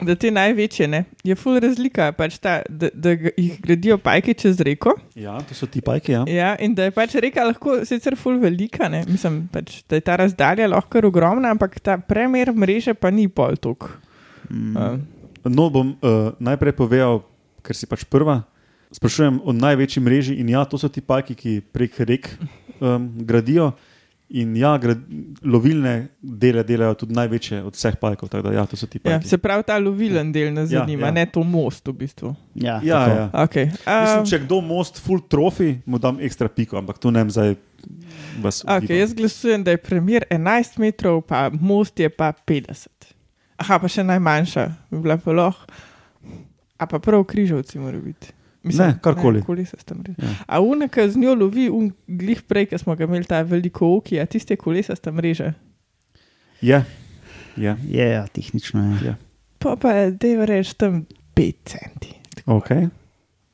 Speaker 2: da te največje ne. je ful razlika, pač ta, da, da g- jih gradijo pajki čez reko.
Speaker 1: Ja, to so ti pajki. Ja.
Speaker 2: Ja, in da je pač reka lahko sicer ful velika, ne? mislim, pač, da je ta razdalja lahko kar ogromna, ampak ta premer mreže pa ni pol tok.
Speaker 4: mm,
Speaker 2: Uh,
Speaker 1: No, bom uh, najprej povedal, ker si pač prva. Sprašujem o največji mreži in ja, to so ti pajki, ki prek rek um, gradijo. In ja, grad, lovilne dele delajo tudi največje od vseh pajkov. tako Da, ja, to so ti
Speaker 2: ja,
Speaker 1: pajki.
Speaker 2: se pravi, ta lovilen del nas
Speaker 1: Ja, ja.
Speaker 2: zanima, ja, ja. ne to most v bistvu.
Speaker 4: ja,
Speaker 1: ja,
Speaker 4: tako.
Speaker 1: ja.
Speaker 2: Okay.
Speaker 1: Mislim, če kdo most full trofi, mu dam ekstra piko, ampak to ne vem zdaj. vas
Speaker 2: Okay,
Speaker 1: ugibam.
Speaker 2: jaz glasujem, da je premjer 11 metrov, pa most je pa 50. Aha, pa še najmanjša, bi bila pa lahko. A pa prav križovci mora biti.
Speaker 1: Ne, karkoli.
Speaker 2: Koli se tam reče.
Speaker 1: Ja.
Speaker 2: Ja. A unika z njo lovi, un glih prej, ki smo ga imeli ta veliko oki, a tiste kolesa sta mreže.
Speaker 1: Je, je.
Speaker 4: Je, ja, tehnično je.
Speaker 1: Ja.
Speaker 2: Pa pa je, da je reč tam 5 centi.
Speaker 1: Okay.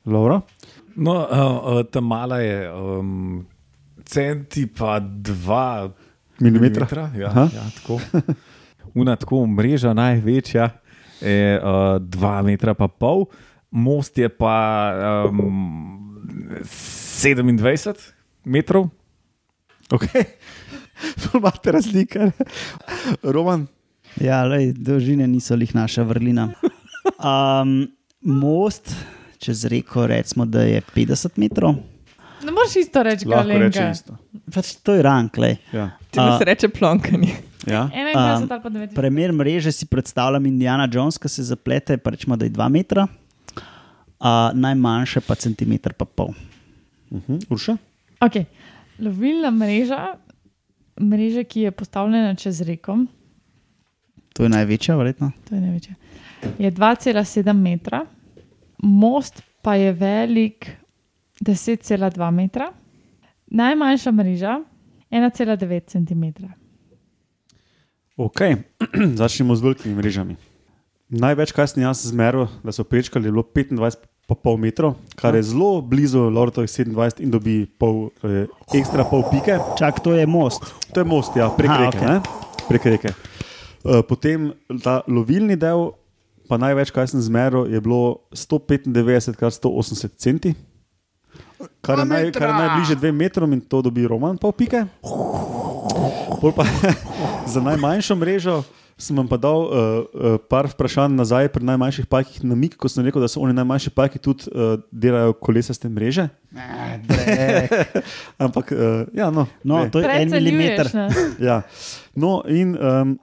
Speaker 1: Laura?
Speaker 3: No, uh, uh, ta mala je um, centi pa dva
Speaker 1: Milimetra.
Speaker 3: Ja,
Speaker 1: Aha.
Speaker 3: ja, tako. Una tako mreža največja je uh, dva metra pa pol, most je pa um, 27 metrov.
Speaker 1: Okay. Imate razlike. Roman,
Speaker 4: Ja, lej, dolžine niso lih naša vrlina. Um, most, čez reko, recimo, da je 50 metrov.
Speaker 5: Ne moreš isto reči,
Speaker 1: ja. lahko reče
Speaker 5: galenka.
Speaker 1: isto.
Speaker 4: Pač to je rank, lej.
Speaker 1: Ja.
Speaker 2: Ti nas
Speaker 4: A-
Speaker 2: reče plonkanje.
Speaker 1: Ja.
Speaker 5: 21
Speaker 4: Um,
Speaker 5: ali pa 29.
Speaker 4: Primer mreže si predstavljam Indiana Jones, ki se zaplete, pa rečemo, da je 2 metra, a najmanjše pa centimeter pa pol.
Speaker 1: Mhm. Urša?
Speaker 5: Okay. Lovilna mreža, mreža, ki je postavljena čez reko,
Speaker 4: To je največja, verjetno.
Speaker 5: to je največja, je 2,7 metra, most pa je velik 10,2 metra, najmanjša mreža 1,9 cm.
Speaker 1: Okay. Začnimo z velikimi mrežami. Največ, kar sem jaz zmeril, da so prečkali, je bilo 25,5 metrov, kar
Speaker 4: Ja.
Speaker 1: je zelo blizu Lortovih 27 in dobi pol, eh, ekstra pol pike.
Speaker 4: Čak, to je most.
Speaker 1: To je most, ja, prek
Speaker 4: Aha,
Speaker 1: reke.
Speaker 4: okej.
Speaker 1: Okay. Prek reke. Eh, Potem ta lovilni del, pa največ, kar sem zmeril, je bilo 195 kar 180 centi. Kar je, naj, kar je najbližje dvem metrom in to dobi Roman, pol pike. Pol pa, za najmanjšo mrežo sem vam pa dal uh, uh, par vprašanj nazaj pri najmanjših pajkih na mik, ko sem rekel, da so oni najmanjši pajki tudi uh, delajo kolesaste mreže. Ampak, uh, ja, no.
Speaker 4: No,
Speaker 1: ne.
Speaker 4: to je en milimeter.
Speaker 1: Ja. No, in um,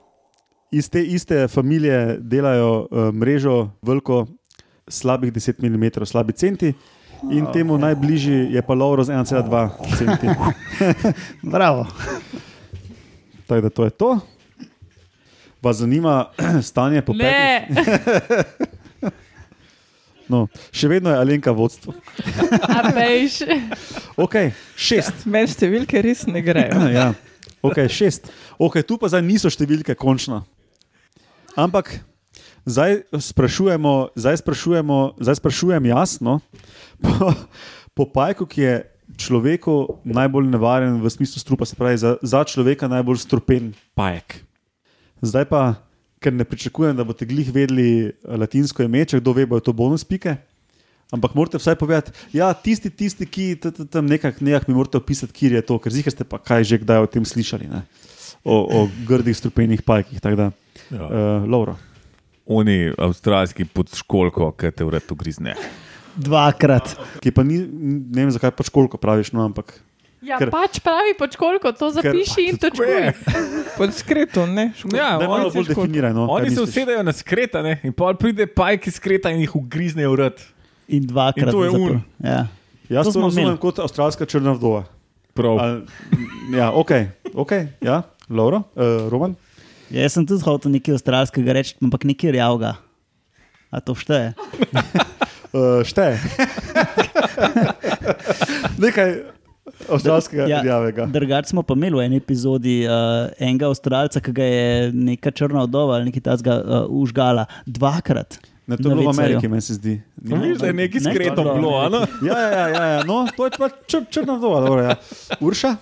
Speaker 1: iz te iste familije delajo uh, mrežo, veliko slabih 10 mm, slabi centi. In temu najbližji je pa Lauro z 1,2 centi.
Speaker 4: Bravo.
Speaker 1: Tako da to je to. Vas zanima stanje po petih?
Speaker 5: Ne,
Speaker 1: No, še vedno je Alenka vodstvo.
Speaker 5: a veš.
Speaker 1: Ok, šest.
Speaker 2: Meni številke res ne grejo.
Speaker 1: ja. Ok, šest. Ok, tu pa zdaj niso številke končna. Ampak zdaj sprašujemo, zdaj sprašujemo, zdaj sprašujem jasno, po, po pajku, ki je človeku najbolj nevaren v smislu strupa, se pravi za, za človeka najbolj strupen pajek. Zdaj pa, ker ne pričakujem, da boste glih vedeli eh, latinsko ime, če kdo ve, bojo to bonus pike. Ampak morate vsaj povedati, ja, tisti, tisti ki t- t- tam nekaj nekak mi morate opisati, kje je to, ker zihar ste pa kaj že kdaj o tem slišali, ne? o, o grdih strupenih pajkih. tako Da,
Speaker 3: Ja.
Speaker 1: uh, Laura,
Speaker 3: Oni avstralski podškolko, ki te vrat ugrizne.
Speaker 4: Dvakrat.
Speaker 1: ki pa ni, ne vem zakaj pač koliko praviš, no, ampak
Speaker 5: Ja,
Speaker 1: Ker-
Speaker 5: Ker, pač pravi počkolko, to zapiši
Speaker 4: pač
Speaker 5: in
Speaker 3: Tako je.
Speaker 5: točkuj.
Speaker 2: Pod skretom, ne? Škoda.
Speaker 3: Ja,
Speaker 1: Da, malo
Speaker 3: oni,
Speaker 2: si
Speaker 1: bolj
Speaker 2: škoda.
Speaker 1: definiraj. No, kaj
Speaker 3: oni se
Speaker 1: misliš.
Speaker 3: usedejo na skreta ne? in pol pride pajk iz skreta in jih ugrizne v rad.
Speaker 4: In
Speaker 3: In
Speaker 4: dvakrat
Speaker 3: to je
Speaker 4: zapor.
Speaker 3: un.
Speaker 4: Ja.
Speaker 1: Jaz
Speaker 4: To
Speaker 1: to
Speaker 4: smo
Speaker 1: razumem
Speaker 4: imeli.
Speaker 1: kot avstralska črna vdova.
Speaker 3: Prav.
Speaker 1: Ali- Ja, ok, okay ja, Laura, uh, Roman.
Speaker 4: Ja, Jaz sem tudi hotel nekaj avstralskega reči, ampak nekaj rjavega. A to šteje?
Speaker 1: Uh, šteje. Nekaj avstralskega
Speaker 4: Ja,
Speaker 1: ja. javega.
Speaker 4: Drugač smo pa imeli v eni epizodi uh, enega avstralca, ki ga je neka črna odova ali nekaj takega uh, užgala dvakrat.
Speaker 1: Ne, to je bilo v
Speaker 4: Novica,
Speaker 1: Ameriki, meni se zdi. Ni-
Speaker 3: Viš, da je nekaj
Speaker 4: No, Ne,
Speaker 3: skretom
Speaker 4: dobro.
Speaker 3: bilo, no? ali?
Speaker 1: Ja, ja, ja, ja, no, to je pa čr, črna vdova. Dobro, ja. Urša?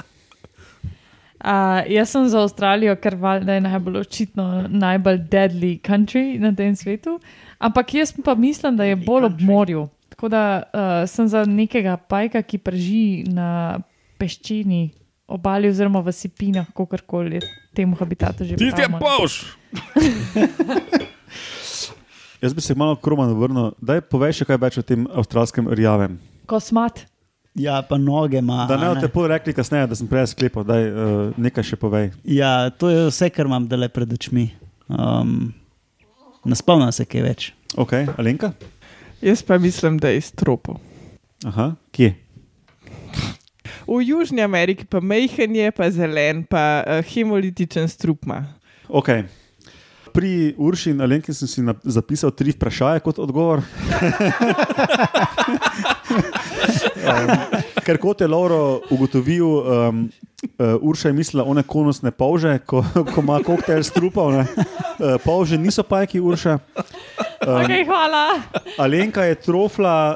Speaker 5: Uh, jaz sem za Avstralijo, ker valjda je najbolj očitno najbolj deadly country na tem svetu. Ampak jaz pa mislim, da je bolj ob morju. Tako da uh, sem za nekega pajka, ki prži na peščini obali oziroma v sipinah, kako koli temu habitatu že
Speaker 3: Tisti je
Speaker 5: pravimo.
Speaker 3: boš.
Speaker 1: Jaz bi se malo kromano vrnil. Daj povej še kaj več o tem avstralskem rjavem.
Speaker 5: Kosmat.
Speaker 4: Ja, pa noge ima.
Speaker 1: Da ne
Speaker 4: a
Speaker 1: boste pol rekli kasneje, da sem prej sklepal, da uh, nekaj še povej.
Speaker 4: Ja, to je vse, kar imam dele pred očmi. Um, ne spomnim se kaj več.
Speaker 1: Ok, Alenka?
Speaker 2: Jaz pa mislim, da je iz tropov.
Speaker 1: Aha, kje?
Speaker 2: V Južni Ameriki pa majhen je, pa zelen, pa uh, hemolitičen strup ima.
Speaker 1: Okay. Pri Urši in Alenki sem si na, zapisal tri vprašanja kot odgovor. um, ker kot je Lauro ugotovil, um, uh, Urša je mislila one konusne polže, ko, ko ima koktejl strupal. Uh, polže niso pajki Urša.
Speaker 5: Um, okay, hvala.
Speaker 1: Alenka je trofla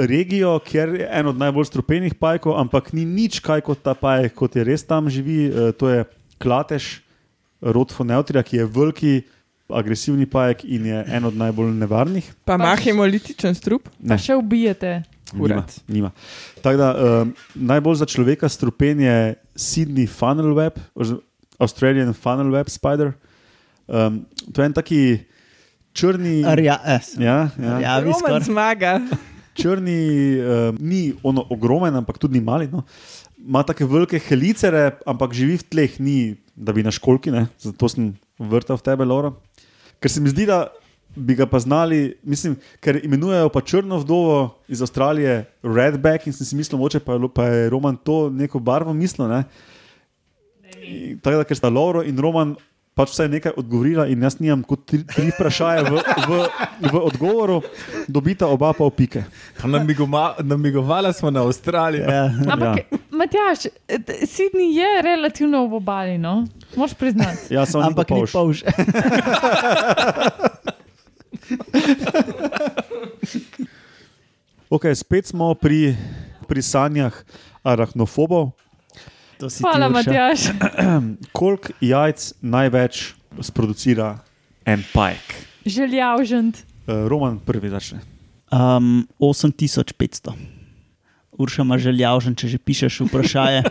Speaker 1: regijo, kjer je en od najbolj strupenih pajkov, ampak ni nič kaj kot ta pajek, kot je res tam živi. Eh, To je klatež rod Foneutrija, ki je veliki, agresivni pajek in je en od najbolj nevarnih.
Speaker 2: Pa ima
Speaker 5: Pač.
Speaker 2: hemolitičen strup,
Speaker 1: Ne.
Speaker 4: Ja.
Speaker 5: Pa še ubijete.
Speaker 1: Nima,
Speaker 2: Kurat.
Speaker 1: nima. Tako da um, najbolj za človeka strupen je Sydney Funnel Web, oziroma Australian Funnel Web Spider. Um, to je en taki črni.
Speaker 4: Rja, eh,
Speaker 1: Ja, ja.
Speaker 4: ja.
Speaker 2: Roman zmaga.
Speaker 1: Črni um, ni ono ogromen, ampak tudi ni mali. No. Ima tako velike helicere, ampak živi v tleh, ni da bi na školki, ne. zato sem vrtel v tebe, Laura. Ker se mi zdi, da bi ga pa znali, mislim, ker imenujejo pa črno vdovo iz Avstralije Redback in sem si mislil, moče pa, je lo- pa je Roman to neko barvo mislil. Ne. In Tako da, ker sta Laura in Roman. Pač vsaj nekaj odgovorila, in jaz nimam kot tri, tri vprašanja v, v, v odgovoru, dobita oba pa opike.
Speaker 3: Namigoma- Namigovala smo na Avstralijo.
Speaker 4: Ja.
Speaker 5: Ampak, ja. Matjaš, t- Sydney je relativno ob obali, no? moš priznati.
Speaker 1: Ja, samo
Speaker 4: Ampak ni
Speaker 1: pa
Speaker 4: polž.
Speaker 1: okay, spet smo pri, pri sanjah arahnofobov.
Speaker 4: To si ti,
Speaker 5: Hvala,
Speaker 4: Urša.
Speaker 5: Matjaš.
Speaker 1: Koliko jajc največ sproducira en pajek?
Speaker 5: Željavžen.
Speaker 1: Eh, Roman prvi začne.
Speaker 4: Um, 8500. Urša ima željavžen, če že pišeš vprašanje.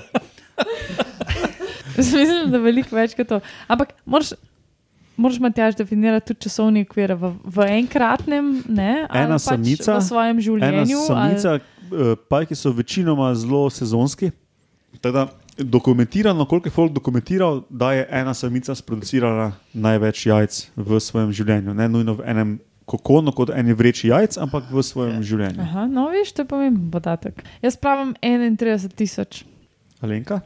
Speaker 5: Jaz Mislim, da je veliko več kot to. Ampak moraš, moraš Matjaž, definirati tudi časovni okvir v, v enkratnem, ne? ali
Speaker 1: Ena
Speaker 5: pač
Speaker 1: samica,
Speaker 5: v svojem
Speaker 1: Ena
Speaker 5: življenju.
Speaker 1: samica, eh, pajki so večinoma zelo sezonski. Tako da Dokumentirano, koliko je folk dokumentiral, da je ena samica sproducirala največ jajc v svojem življenju. Ne nujno v enem kokonu, kot eni vreči jajc, ampak v svojem življenju.
Speaker 5: Aha, no, veš, to je pomemben podatek. Jaz pravim 31 tisoč.
Speaker 1: Alenka,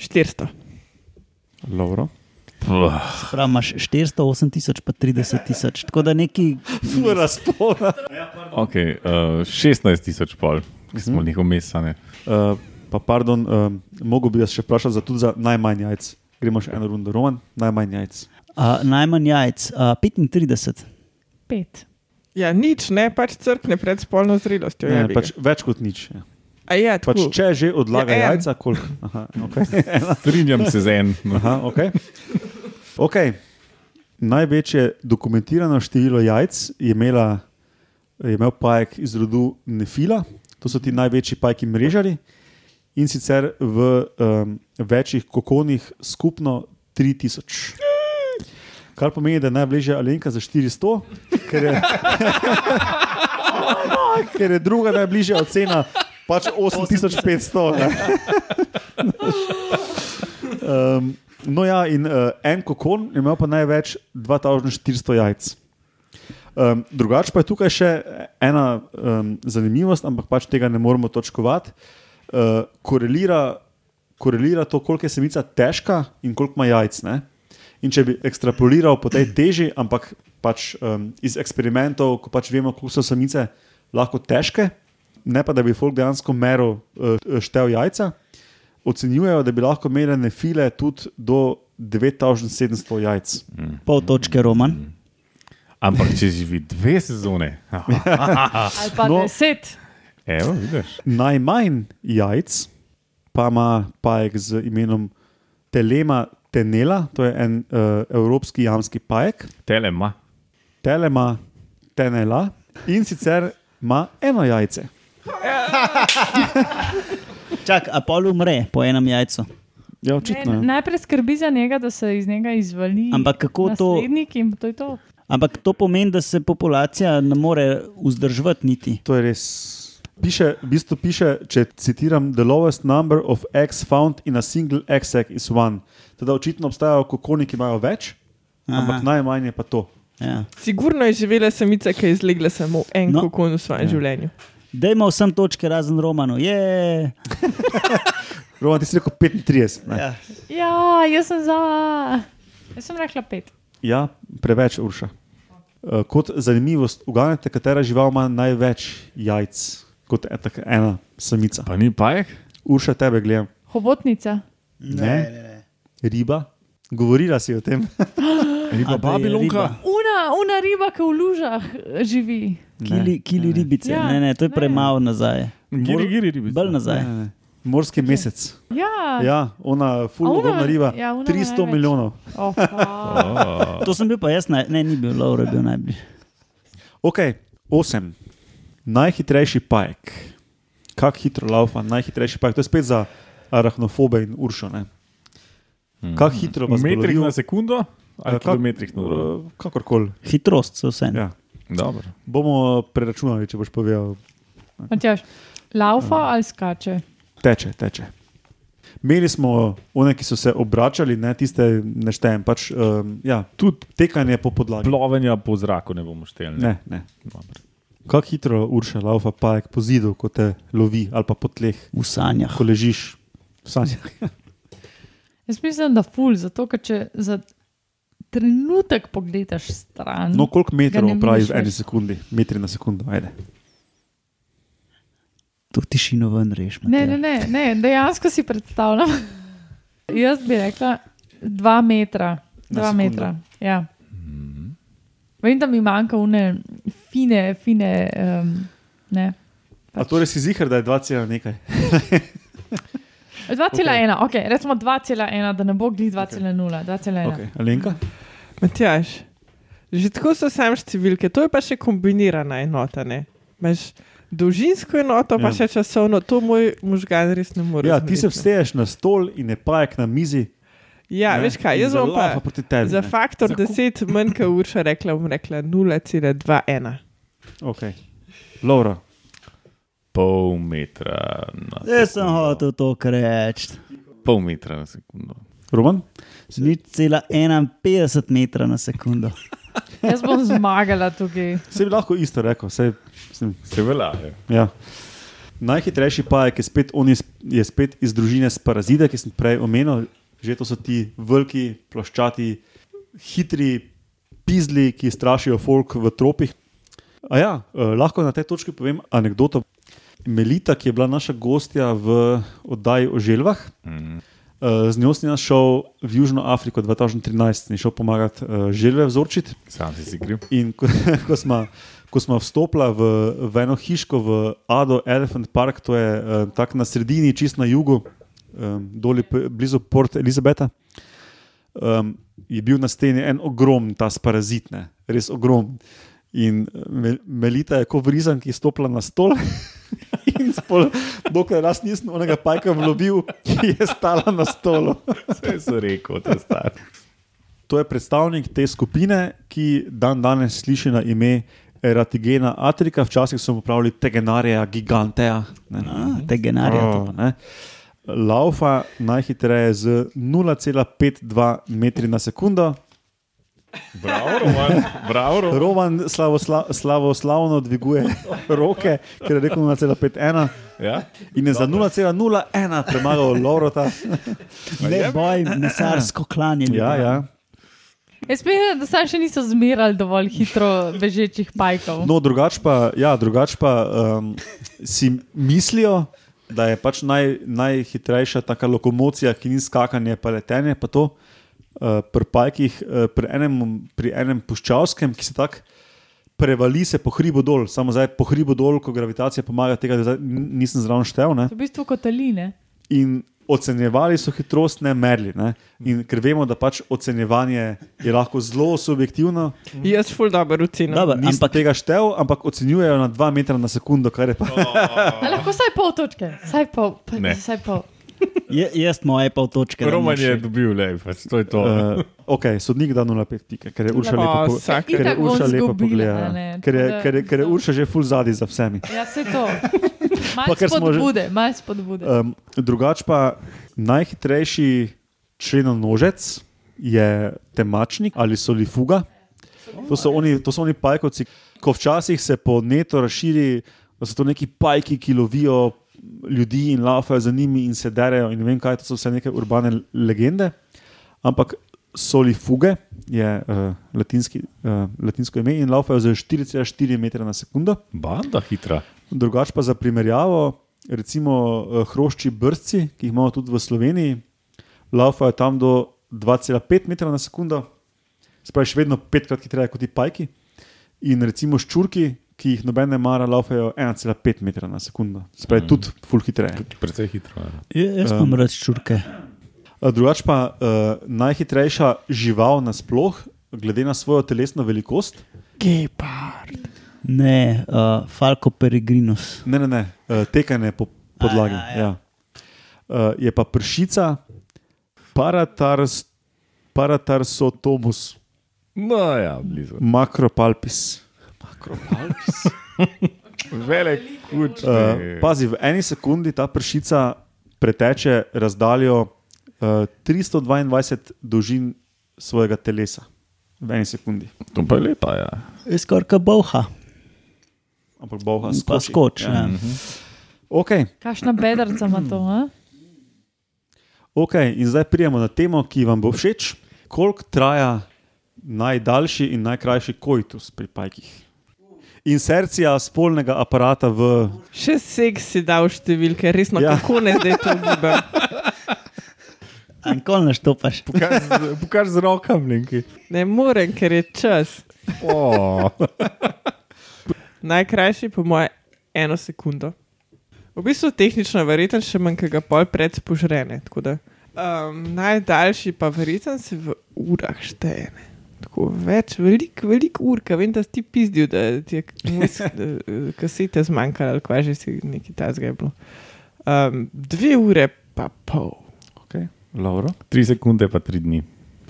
Speaker 2: 400.
Speaker 1: Lauro.
Speaker 4: Prav imaš 400, 8000, pa 30000. Tako da neki
Speaker 1: Razpona.
Speaker 3: Okay, uh, 16 tisoč pol, ki
Speaker 4: Mhm.
Speaker 3: smo jih umesane.
Speaker 1: Uh, pa, pardon, uh, mogo bi jaz še vprašati za, tudi za najmanj jajc. Gremo še eno rundo, Roman, najmanj jajc.
Speaker 4: uh, najmanj jajc, uh, 35.
Speaker 5: Pet.
Speaker 2: Ja, nič, ne, pač crkne pred spolno zrelostjo.
Speaker 1: Ne,
Speaker 2: jebi ga.
Speaker 1: pač več kot nič. ja.
Speaker 2: A ja,
Speaker 1: Pač,
Speaker 2: tako.
Speaker 1: če že odlaga
Speaker 2: Ja,
Speaker 1: ja,
Speaker 2: en.
Speaker 1: jajca, koliko. Aha, okay.
Speaker 3: Strinjam se z enim.
Speaker 1: Aha, okay. Okay. Največje dokumentirano število jajc je, imela, je imel pajek iz rodu Nefila, to so ti največji pajki mrežari in sicer v um, večjih kokonih skupno 3000. Kar pomeni, da je najbližje Alenka za 400, ker je, ker je druga najbližja ocena Pač 8500. ne. um, no, ja, in uh, en kokon je imel pa največ 2400 jajc. Um, drugač pa je tukaj še ena um, zanimivost, ampak pač tega ne moremo točkovati. Uh, korelira, korelira to, koliko je samica težka in koliko ima jajc. Ne? In če bi ekstrapoliral po tej teži, ampak pač um, iz eksperimentov, ko pač vemo, koliko so samice lahko težke, ne pa da bi folk dejansko meril uh, štev jajca, ocenjujejo, da bi lahko imele nefile tudi do 9700 jajc.
Speaker 4: Pol točke Roman.
Speaker 3: Ampak če živi dve sezone, aha,
Speaker 5: ali pa
Speaker 1: No.
Speaker 5: no. deset.
Speaker 3: evo, vidiš.
Speaker 1: Najmanj jajc pa ima pajek z imenom Telema Tenela, to je en uh, evropski jamski pajek,
Speaker 3: Telema.
Speaker 1: Telema Tenela in sicer ima eno jajce.
Speaker 4: Čak, a pol umre po enem jajcu.
Speaker 1: Ja,
Speaker 5: Ne,
Speaker 1: očitno.
Speaker 5: ne,
Speaker 1: ja.
Speaker 5: najprej skrbi za njega, da se iz njega izvali.
Speaker 4: Ampak kako to-
Speaker 5: Naslednik in to je to.
Speaker 4: Ampak to pomeni, da se populacija ne more vzdrževati niti.
Speaker 1: To je res. Piše, v bistvu piše, če citiram, the lowest number of eggs found in a single egg sac is one. Teda očitno obstajajo kokoni, ki imajo več, Aha. ampak najmanj je pa to.
Speaker 4: Ja.
Speaker 2: Sigurno je živela samica, ki je izlegla samo en
Speaker 4: No.
Speaker 2: no. kokon v svojem ja. življenju.
Speaker 4: Dajmo vsem točke razen Romanu. Je,
Speaker 1: Roman, ti si rekel 35. Ne?
Speaker 4: ja.
Speaker 5: Ja, jaz sem za. Jaz sem rekla pet.
Speaker 1: Ja, preveč urša. Eh, Kot zanimivost, uganete, katera žival ima največ jajc, kot e- tak ena samica.
Speaker 3: Pa ni pajek?
Speaker 1: Urša tebe gledam.
Speaker 5: Hobotnica.
Speaker 1: Ne, ne, ne. Riba, govorila si o tem.
Speaker 4: A, da
Speaker 3: Riba
Speaker 4: je
Speaker 3: Babilonka.
Speaker 4: riba.
Speaker 5: Una, una riba, ki v lužah eh, živi.
Speaker 4: Kili, kili ribice, ja,
Speaker 5: Ja,
Speaker 4: ne, ne, to je
Speaker 5: ne.
Speaker 4: premalo nazaj.
Speaker 3: Giri, giri, ribica.
Speaker 4: Bolj nazaj.
Speaker 1: Ne, ne, ne. Morski mesec.
Speaker 5: Ja,
Speaker 1: Ja, ona,
Speaker 5: A ona-
Speaker 1: fulgorna riba.
Speaker 5: ja, ona ima
Speaker 1: 300
Speaker 5: največ.
Speaker 1: milijonov.
Speaker 5: Oh, fuck.
Speaker 3: Oh,
Speaker 4: To sem bil pa jaz, naj, ne, ni bil Laura, bil najbližji.
Speaker 1: Ok, osem. Najhitrejši pajek. Kako hitro laufa, najhitrejši pajek. To je spet za arahnofobe in uršo. ne. Kako hitro vas
Speaker 3: metrik
Speaker 1: bolorijo-
Speaker 3: na sekundo ali
Speaker 1: Ja, kak-
Speaker 3: kilometrik na uro.
Speaker 1: Eh, Kakorkoli.
Speaker 4: Hitrost se vse. Ja.
Speaker 1: Ja.
Speaker 3: Dobro.
Speaker 1: Bomo eh, preračunali, če boš povedal.
Speaker 5: Matjaž, laufa ali skače?
Speaker 1: Teče, teče. Imeli smo one, ki so se obračali, ne tiste neštejem. Pač, um, ja, tudi tekanje po podlagi.
Speaker 3: Plovenja po zraku ne bomo šteli. ne?
Speaker 1: Ne, ne.
Speaker 3: Dobro.
Speaker 1: Kako hitro urša laufa pajek po zidu, ko te lovi ali pa po tleh,
Speaker 4: V sanjah.
Speaker 1: ko ležiš v sanjah.
Speaker 5: Jaz mislim, da ful, zato ker če za trenutek pogledaš stran.
Speaker 1: No, koliko metrov
Speaker 5: Ga ne
Speaker 1: pravi v
Speaker 5: moreš
Speaker 1: eni
Speaker 5: več.
Speaker 1: sekundi, metri na sekundo, ajde.
Speaker 4: To tišino ven reš.
Speaker 5: ne, ne, ne, ne, dejansko si predstavljam. Jaz bi rekla dva metra.
Speaker 1: Na
Speaker 5: Dva
Speaker 1: sekundo. Mhm.
Speaker 5: metra. Ja. Vem, da mi manjka une fine, fine. Um, ne.
Speaker 1: A torej si zihar, da je 2,1 nekaj. torej-
Speaker 5: 2,1, okay. Okay, recimo 2,1, da ne bo glih 2,0. Okay.
Speaker 1: Okay. Alenka?
Speaker 2: Matjaž, že tako so sam številke, to je pa še kombinirana enota. ne. Imaš dolžinsko enoto, pa
Speaker 1: Ja.
Speaker 2: še časovno, to moj možgan res ne more. no.
Speaker 1: Ja, ti se
Speaker 2: zmleti, ne.
Speaker 1: vseješ na stol in je pajek na mizi.
Speaker 2: Ja,
Speaker 1: ne,
Speaker 2: veš kaj,
Speaker 1: in
Speaker 2: jaz bom
Speaker 1: zalaufa
Speaker 2: pa.
Speaker 1: proti tebi.
Speaker 2: Za
Speaker 1: ne.
Speaker 2: faktor 10 manj, kot Urša rekla, bom rekla 0,21.
Speaker 1: Okay. Laura.
Speaker 3: Pol metra na sekundo.
Speaker 4: Jaz sem hotel to kar reči.
Speaker 3: Pol metra na sekundo.
Speaker 1: Roman?
Speaker 4: Nič cela 51 metra na sekundo.
Speaker 5: Jaz bom zmagala tukaj.
Speaker 1: Se bi lahko isto rekel. Sej, mislim,
Speaker 3: Se velja. je.
Speaker 1: ja. Najhitrejši pajek je spet, on je, sp- je spet iz družine s parazite, ki sem prej omenil. Že to so ti veliki, ploščati, hitri pizli, ki strašijo folk v tropih. A ja, eh, lahko na tej točki povem anegdoto. Melita, ki je bila naša gostja v oddaji o želvah,
Speaker 3: Mm.
Speaker 1: eh, z njo sem jaz šel v Južno Afriko 2013, sem ji šel pomagati eh, želve vzorčiti.
Speaker 3: Sam si si kriv.
Speaker 1: In ko, ko smo. Ko smo vstopili v, v eno hiško v Ado Elephant Park, to je eh, tako na sredini, čist na jugu, eh, doli p- blizu Port Elizabeta, um, je bil na steni en ogromen, ta sparazit, ne? res ogromen. In eh, Me- Melita je kot vrizan, ki je stopila na stol. In spol, dokler jaz nisem onega pajka vlobil, ki je stala na stolu.
Speaker 3: Vse so rekel, da je star.
Speaker 1: To je predstavnik te skupine, ki dan danes sliši na ime eratigena atrika, včasih so popravili tegenarja, giganteja. Ne,
Speaker 4: A, te genarije. Oh.
Speaker 1: to, ne. Laufa najhitreje z 0,52 metri na sekundo,
Speaker 3: Bravo, Roman. Bravo, Roman.
Speaker 1: Roman slavosla, slavoslavno dviguje roke, ker je rekel 0,51
Speaker 3: Ja?
Speaker 1: in je za 0,01 premagal Lorota.
Speaker 4: Ne boj, mesarsko klanje.
Speaker 1: Ja, ja.
Speaker 5: Jaz mislim, da sam še niso zmerali dovolj hitro bežečih pajkov.
Speaker 1: No, drugače pa, ja, drugač pa um, si mislijo, da je pač naj, najhitrejša taka lokomocija, ki ni skakanje, pa letenje. Pa to, uh, pri pajkih, uh, pri enem, pri enem puščavskem, ki se tako prevali se po hribu dol, samo zdaj po hribu dol, ko gravitacija pomaga, tega da zdaj n- nisem zraven štev. Ne?
Speaker 5: To je v bistvu kot aline.
Speaker 1: in ocenjevali so hitrost, ne merili. Ne? In ker vemo, da pač ocenjevanje je lahko zelo subjektivno,
Speaker 2: Jaz ful Mhm. dobro oceno.
Speaker 4: Dobar,
Speaker 1: nisem
Speaker 4: ampak
Speaker 1: tega štev, ampak ocenjujejo na 2 metra na sekundo, kar je pa
Speaker 5: A lahko saj pol točke, saj pol, pa,
Speaker 3: Ne.
Speaker 5: saj pol.
Speaker 4: je, jaz moje pol točke. dam
Speaker 3: Roman
Speaker 4: še.
Speaker 3: je dobil, le, pač, to je to.
Speaker 1: Uh, okay, sodnik da 0,5 pike, ker je Urša
Speaker 2: O,
Speaker 1: lepo, po,
Speaker 2: vsak.
Speaker 1: ker je
Speaker 5: Itak bom
Speaker 1: Urša lepo
Speaker 5: zgubila, a
Speaker 1: pogledala.
Speaker 5: ne,
Speaker 1: Ker je,
Speaker 5: tako da-
Speaker 1: ker, je, ker je Urša že full zadaj za vsemi.
Speaker 5: Ja, se to.
Speaker 1: Pa,
Speaker 5: Malo
Speaker 1: ker smo že-
Speaker 5: spodbude, malo spodbude.
Speaker 1: Um, drugač pa najhitrejši členonožec je temačnik ali solifuga. To so oni, to so oni pajkovci, ko včasih se po netu razširi, da so to neki pajki, ki lovijo ljudi in lafajo za njimi in se derajo. In ne vem kaj, to so vse neke urbane legende. Ampak solifuge je uh, latinski, uh, latinsko ime in lafajo za 4,4 metra na sekundo.
Speaker 3: Banda hitra.
Speaker 1: Drugač pa za primerjavo, recimo eh, hrošči brci, ki jih imamo tudi v Sloveniji, laufajo tam do 2,5 metra na sekundo, spravi še vedno petkrat hitreje kot ti pajki. In recimo ščurki, ki jih noben ne mara, laufajo 1,5 metra na sekundo, spravi mm. tudi full hitreje.
Speaker 3: Predvsej hitro. Ja.
Speaker 4: Ja, Jaz imam rad čurke.
Speaker 1: Eh, Drugač pa uh, najhitrejša žival nasploh, glede na svojo telesno velikost,
Speaker 2: Gepard.
Speaker 4: Ne, uh, Falko Peregrinus.
Speaker 1: Ne, ne, ne. eh, tekanje po podlagi. A,
Speaker 4: A, ja,
Speaker 1: ja,
Speaker 4: ja.
Speaker 1: ja. Ja. Je pa pršica, paratars, paratarsotomus,
Speaker 3: No, ja, blizu.
Speaker 1: makropalpis.
Speaker 3: Velik kuč.
Speaker 1: Uh, pazi, v eni sekundi ta pršica preteče razdaljo uh, 322 dolžin svojega telesa. V eni sekundi.
Speaker 3: to pa je lepa, ja.
Speaker 4: Je skoraj kot boha.
Speaker 1: Ampak boha
Speaker 4: Pa
Speaker 1: skoči.
Speaker 4: skoč. Ja.
Speaker 1: Okay.
Speaker 5: Kakšna bedrca ima to? A?
Speaker 1: Ok, in zdaj prijemo na temo, ki vam bo všeč. Koliko traja najdaljši in najkrajši koitus pri pajkih? Insercija spolnega aparata v.
Speaker 2: Še seks si dal številke, resno, ja.
Speaker 1: Ja.
Speaker 2: kako ne zdaj to giba.
Speaker 4: Ankol naštopaš.
Speaker 3: Pokaž, z- pokaž z rokami, linki.
Speaker 2: Ne morem, ker je čas.
Speaker 3: Oh.
Speaker 2: Najkrajši, po moje, eno sekundo. V bistvu tehnično verjeten še manj, ki ga pol pred spožrene. tako da. Um, najdaljši pa verjeten se v urah šteje. ne. Tako več, veliko, veliko ur, ker vem, da si ti pizdil, da ti je mus, kasete zmanjkalo ali kaj že si nekaj tazga je bilo. Um, dve ure pa pol.
Speaker 1: Okay. Lauro.
Speaker 3: Tri sekunde, pa tri dni.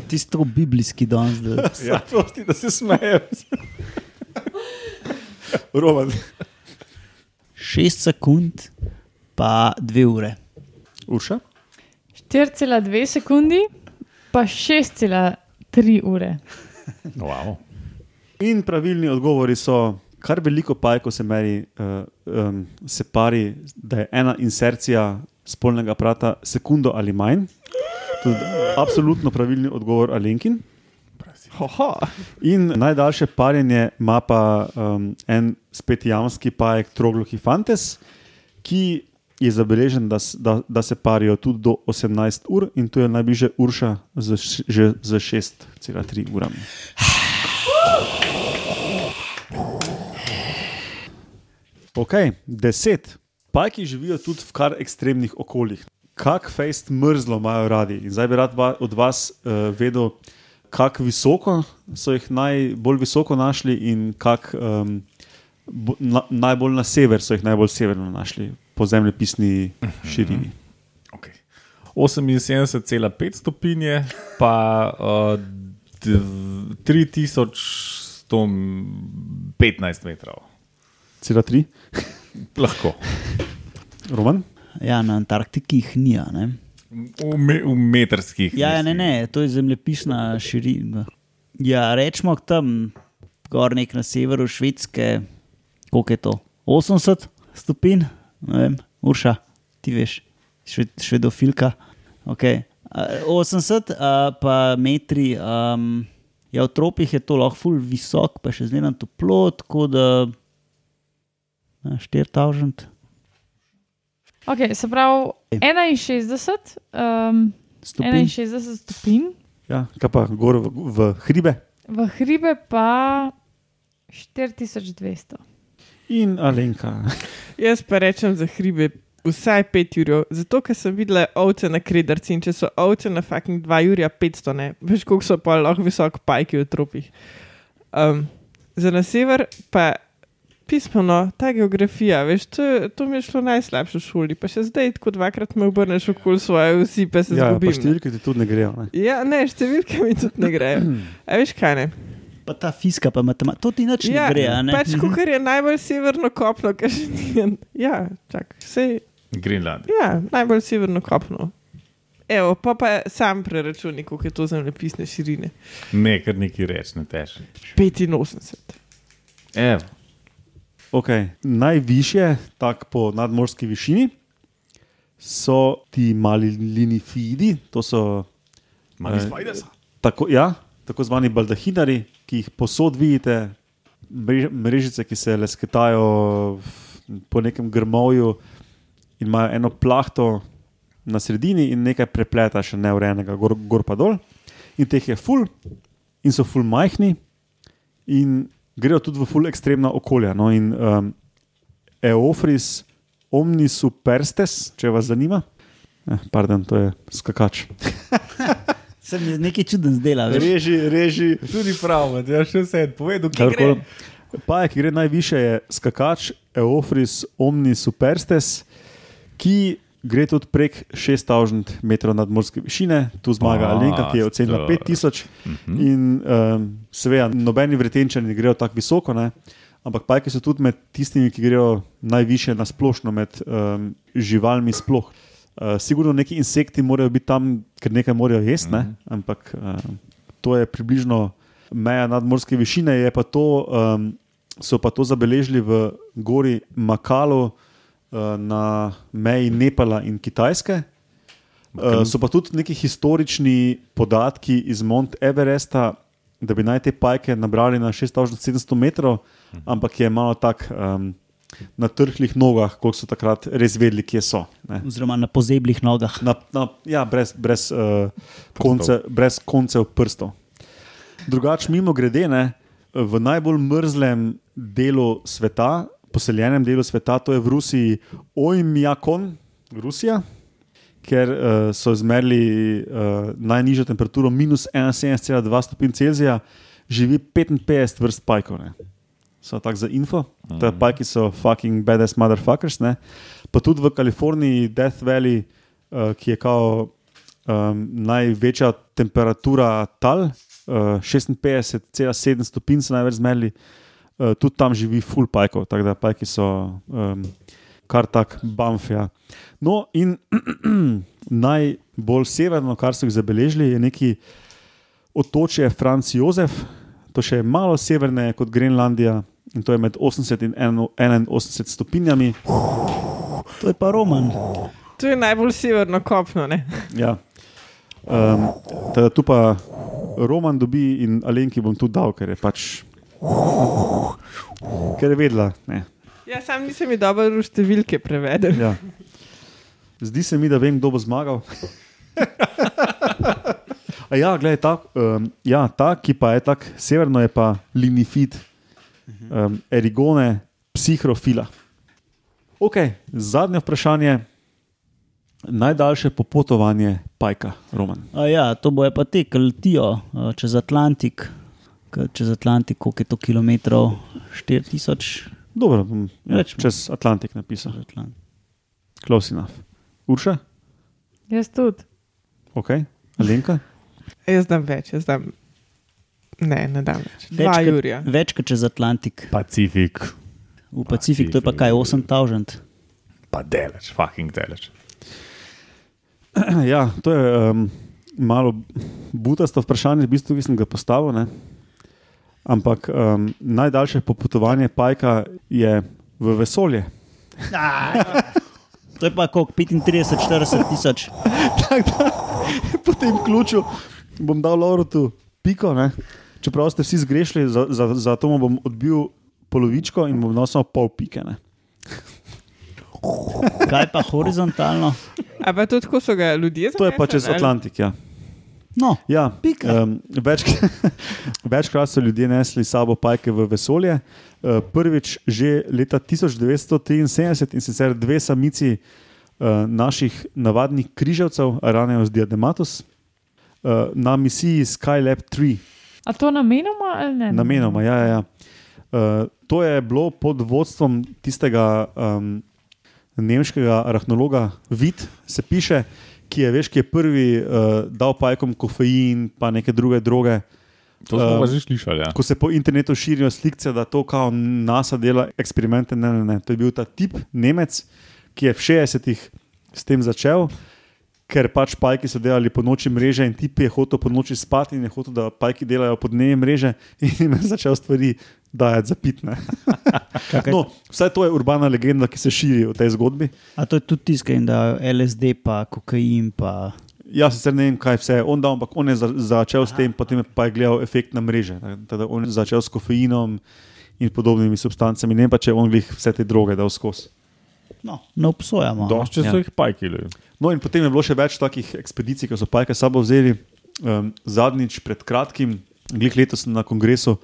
Speaker 4: Tisto biblijski don zdaj.
Speaker 1: Ja, prosti, da se smejem. Roman.
Speaker 4: 6 sekund, pa 2 ure.
Speaker 1: Urša.
Speaker 5: 4,2 sekundi, pa 6,3 ure.
Speaker 3: Wow.
Speaker 1: In pravilni odgovori so, kar veliko pajkov se meri, uh, um, se pari, da je ena insercija spolnega aparata sekundo ali manj. To je absolutno pravilni odgovor Alenkin.
Speaker 2: Hoho.
Speaker 1: In najdaljše parjenje ima pa um, en spet jamski pajek Troglohifantes, ki je zabeležen, da, s- da, da se parijo tudi do 18 ur, in tu je najbližje Urša z, š- že z 6,3 urami. Ok, deset. Pajki živijo tudi v kar ekstremnih okoljih. Kak fejst mrzlo imajo radi. In zdaj bi rad va- od vas uh, vedel, kako visoko so jih najbolj visoko našli in kak, um, bo, na, najbolj na sever so jih najbolj severno našli, po zemljepisni širini.
Speaker 3: Okay. eh, 78,5 stopinje, pa uh, 3100 115 metrov.
Speaker 1: Cela tri,
Speaker 3: Lahko.
Speaker 1: Roman.
Speaker 4: Ja, na Antarktiki jih ni. a ne.
Speaker 3: V, me, v metrskih.
Speaker 4: Ja, ja, ne,
Speaker 3: mislim.
Speaker 4: ne, to je zemljepisna širina. Ja, rečemo tam, gor nek na severu Švedske, koliko je to? 80 stopinj, ne vem, urša, ti veš, šved, švedofilka. Okay. Uh, 80, uh, pa metri. Um, ja, v tropih je to lahko ful visok, pa še zmeraj toplo, tako da eh, 4000.
Speaker 5: Okay, se pravi, 61, um,
Speaker 4: Stopinj.
Speaker 5: 61 stopinj,
Speaker 1: Ja, kaj pa gor v, v hribe
Speaker 5: v hribe pa 4200.
Speaker 1: in Alenka.
Speaker 2: Jaz pa rečem za hribe vsaj 5 ur, zato ker sem videla ovce na kredarci in če so ovce na fucking 2 ur, 500 ne, veš koliko so pa lahko visok pajki v tropih. Um, za na sever pa pismeno, ta geografija, veš, to, je- to mi je šlo najslabše v šoli, pa še zdaj, tako dvakrat me obrneš okoli svoje vsi, pa se
Speaker 1: Ja, pa
Speaker 2: zgubim. ne.
Speaker 1: številke ti tudi ne grejo. Ne?
Speaker 2: Ja, ne, številke mi tudi ne grejo. A veš kaj ne?
Speaker 4: Pa ta fiska, pa matematika, to ti nič ne gre. a Ne?
Speaker 2: pač,
Speaker 4: Mhm.
Speaker 2: kot je najbolj severno kopno, kar še ni. Ja, čak, sej,
Speaker 3: Grenland.
Speaker 2: ja, najbolj severno kopno. Evo, pa pa sam preračuni, koliko je to zemljepisne širine.
Speaker 3: Ne, kar neki reč ne teže.
Speaker 2: 85.
Speaker 3: Evo.
Speaker 1: Okay. Najvišje, tako po nadmorski višini, so ti mali linifidi, to so
Speaker 3: Mali
Speaker 1: Eh,
Speaker 3: spiders.
Speaker 1: tako, ja, tako zvani baldahinari, ki jih posod vidite, mrež- mrežice, ki se lesketajo v- po nekem grmovju in imajo eno plahto na sredini in nekaj prepleta, še neurejenega, gor, gor pa dol. In teh je ful, in so ful majhni, in grejo tudi v ful ekstremna okolja. No? In um, Eofris omnisuperstes, če vas zanima. Eh, pardon, to je skakač.
Speaker 4: Se mi je nekaj čuden zdela. veš.
Speaker 1: Reži, reži.
Speaker 3: Tudi prav, ja še vse je povedal, kaj gre.
Speaker 1: Karkoli. Pajek, ki gre najviše, je skakač Eofris Omni Superstes, ki gre tudi prek 6000 metrov nadmorske višine, tu zmaga
Speaker 3: A,
Speaker 1: Alenka, ki je ocenila
Speaker 3: star.
Speaker 1: 5000. In um, seveda, nobeni vretenčani ne grejo tako visoko, ne? ampak pajki so tudi med tistimi, ki grejo najviše na splošno, med um, živalmi sploh. Uh, sigurno neki insekti morajo biti tam, ker nekaj morajo jesti, ne? ampak um, to je približno meja nadmorske višine, je pa to, um, so pa to zabeležili v gori Makalu uh, na meji Nepala in Kitajske. Uh, so pa tudi neki historični podatki iz Mont Everesta, da bi naj te pajke nabrali na 6700 metrov, ampak je malo tako um, na trhlih nogah, koliko so takrat res vedeli, kje so. Ne.
Speaker 4: Oziroma na pozeblih nogah.
Speaker 1: Na, na, ja, brez, brez, uh, konce, brez koncev prstov. Drugač, mimo grede, ne, v najbolj mrzlem delu sveta, poseljenem delu sveta, to je v Rusiji Ojmjakon, Rusija, ker uh, so izmerili uh, najnižjo temperaturo minus 71,2 stopinj Celzija, živi 55 vrst pajkov. Ne. So tako za info, mm. te pajki so fucking badass motherfuckers. Ne. Pa tudi v Kaliforniji, Death Valley, uh, ki je kao um, največja temperatura tal, uh, 56,7 stopinj so največ zmerili, uh, tudi tam živi full pajkov, tako da pajki so um, kar tak bamf. Ja. No, in najbolj severno, kar so jih zabeležili, je neki otočje Franz Jozef, to še je malo severneje kot Grenlandija. In to je med 80 in 81 stopinjami.
Speaker 4: To je pa Roman.
Speaker 2: To je najbolj severno kopno, ne?
Speaker 1: Ja. Um, teda tu pa Roman dobi in Alenki bom tudi dal, ker je pač. Ker je vedela. Ne,
Speaker 2: Ja, sam nisem jih dobro v številke prevedel.
Speaker 1: ja. Zdi se mi, da vem, kdo bo zmagal. A ja, gledaj, ta, um, ja, ta, ki pa je tako severno, je pa Linifid, um, Erigone, psihrofila. Ok, zadnje vprašanje. Najdaljše popotovanje Pajka, Roman.
Speaker 4: A ja, to boje pa te, ki letijo eh, čez Atlantik, Ke čez Atlantik, koliko je to kilometrov, 4000.
Speaker 1: Dobro, bom ja,
Speaker 4: Recimo.
Speaker 1: čez Atlantik napisal,
Speaker 4: čez Atlant-
Speaker 1: close enough. Urša,
Speaker 5: Jaz tudi.
Speaker 1: ok, Lenka,
Speaker 2: Jaz znam več, jaz znam Ne, ne da več. Dva
Speaker 4: Več kot,
Speaker 2: Jurija.
Speaker 4: več kot čez Atlantik.
Speaker 3: Pacifik,
Speaker 4: V Pacifik to je pa kaj 8000.
Speaker 3: pa deleč, fucking deleč.
Speaker 1: Ja, to je um, malo butasto vprašanje, v bistvu, ki sem ga postavil. Ne? Ampak um, najdaljše popotovanje Pajka je v vesolje.
Speaker 4: To je pa koliko 35, 40 tisoč.
Speaker 1: Tako da, po tem ključu bom dal Lorutu piko. Ne? Čeprav ste vsi zgrešili, za, za, za to mu bom odbil polovičko in bom dal samo pol pike. Ne?
Speaker 4: Kaj pa horizontalno?
Speaker 2: A pa to tako so ga ljudje
Speaker 1: To je pa čez
Speaker 2: zanesli, ali?
Speaker 1: Atlantik. Ja.
Speaker 4: No,
Speaker 1: Ja,
Speaker 4: Pika.
Speaker 1: Um, več, večkrat so ljudje nesli s sabo pajke v vesolje. Uh, prvič že leta 1973 in sicer dve samici uh, naših navadnih križavcev, Araneus Diadematus, uh, na misiji Skylab 3,
Speaker 5: A to namenoma ali ne?
Speaker 1: namenoma. Ja, ja, ja. Uh, to je bilo pod vodstvom tistega um, nemškega arahnologa Vid, se piše, ki je, veš, ki je prvi uh, dal pajkom kofein, pa neke druge droge.
Speaker 3: To smo
Speaker 1: Um,
Speaker 3: um, že slišali. Ja.
Speaker 1: Ko se po internetu širijo slike, da to kao NASA dela eksperimente, ne, ne, ne. To je bil ta tip Nemec, ki je v 60-ih s tem začel, ker pač pajki so delali po noči mreže in tip je hotel po noči spati in je hotel, da pajki delajo po dnevi mreže in jim je začel stvari dajati zapitne.
Speaker 4: Čakaj.
Speaker 1: No, vse to je urbana legenda, ki se širi v tej zgodbi.
Speaker 4: a to je tudi tiskaj, da je LSD, pa kokain, pa
Speaker 1: Jaz sicer ne vem, kaj vse je on dal, ampak on je za, začel s tem, potem je pa je gledal efekt na mreže. Tako da On je začel s kofeinom in podobnimi substancami, ne vem pa če je on glih vse te droge dal skozi.
Speaker 4: no, ne obsojamo.
Speaker 3: Došče so
Speaker 1: Ja.
Speaker 3: jih pajkili.
Speaker 1: No, in potem je bilo še več takih ekspedicij, ki so pajke s sabo vzeli. Um, zadnjič, pred kratkim, glih letos sem na kongresu,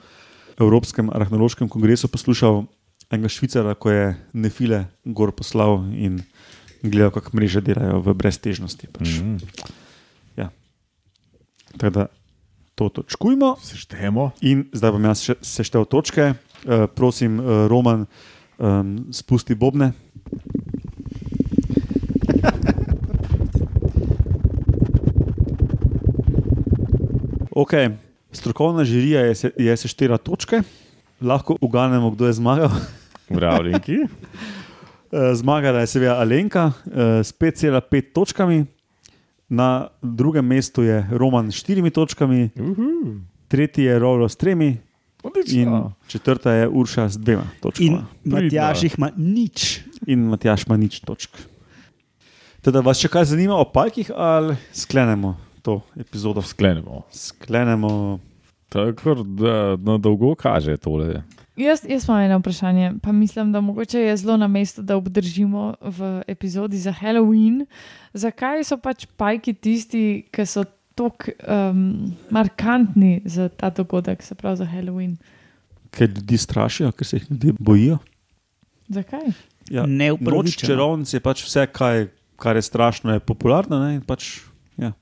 Speaker 1: Evropskem arheološkem kongresu, poslušal enega švicara, ko je nefile gor poslal in gledal, kako mreže delajo v breztežnosti. Pač. Mm. Ja. Tako da to točkujmo.
Speaker 3: Seštejemo.
Speaker 1: In zdaj bom jaz še- seštel točke. Uh, prosim, uh, Roman, um, spusti bobne. Ok, strokovna žirija je, se, je seštela točke, lahko uganemo, kdo je zmagal.
Speaker 3: Mravljenki.
Speaker 1: Eh, Zmagala je seveda Alenka eh, s 5,5 točkami, na drugem mestu je Roman s 4 točkami, tretji je Rolo s 3, In četrta je Urša z dvema
Speaker 4: In
Speaker 1: točkama.
Speaker 4: Matjaš jih ima nič.
Speaker 1: In, in Matjaš ima nič točk. Teda vas še kaj zanima o pajkih, ali sklenemo to epizodo?
Speaker 3: Sklenemo.
Speaker 1: Sklenemo.
Speaker 3: Tako da na dolgo kaže tole.
Speaker 5: Jaz, jaz imam eno vprašanje, pa mislim, da mogoče je zelo na mestu, da obdržimo v epizodi za Halloween. Zakaj so pač pajki tisti, ki so tako um, markantni za ta dogodek, se pravi za Halloween?
Speaker 1: Ker ljudi strašijo, ker se jih ljudje bojijo.
Speaker 5: Zakaj?
Speaker 1: Ja.
Speaker 4: Neupravičeno.
Speaker 1: Noč čarovnic je pač vse, kaj, kar je strašno, je popularno. Ne? in Pač, ja.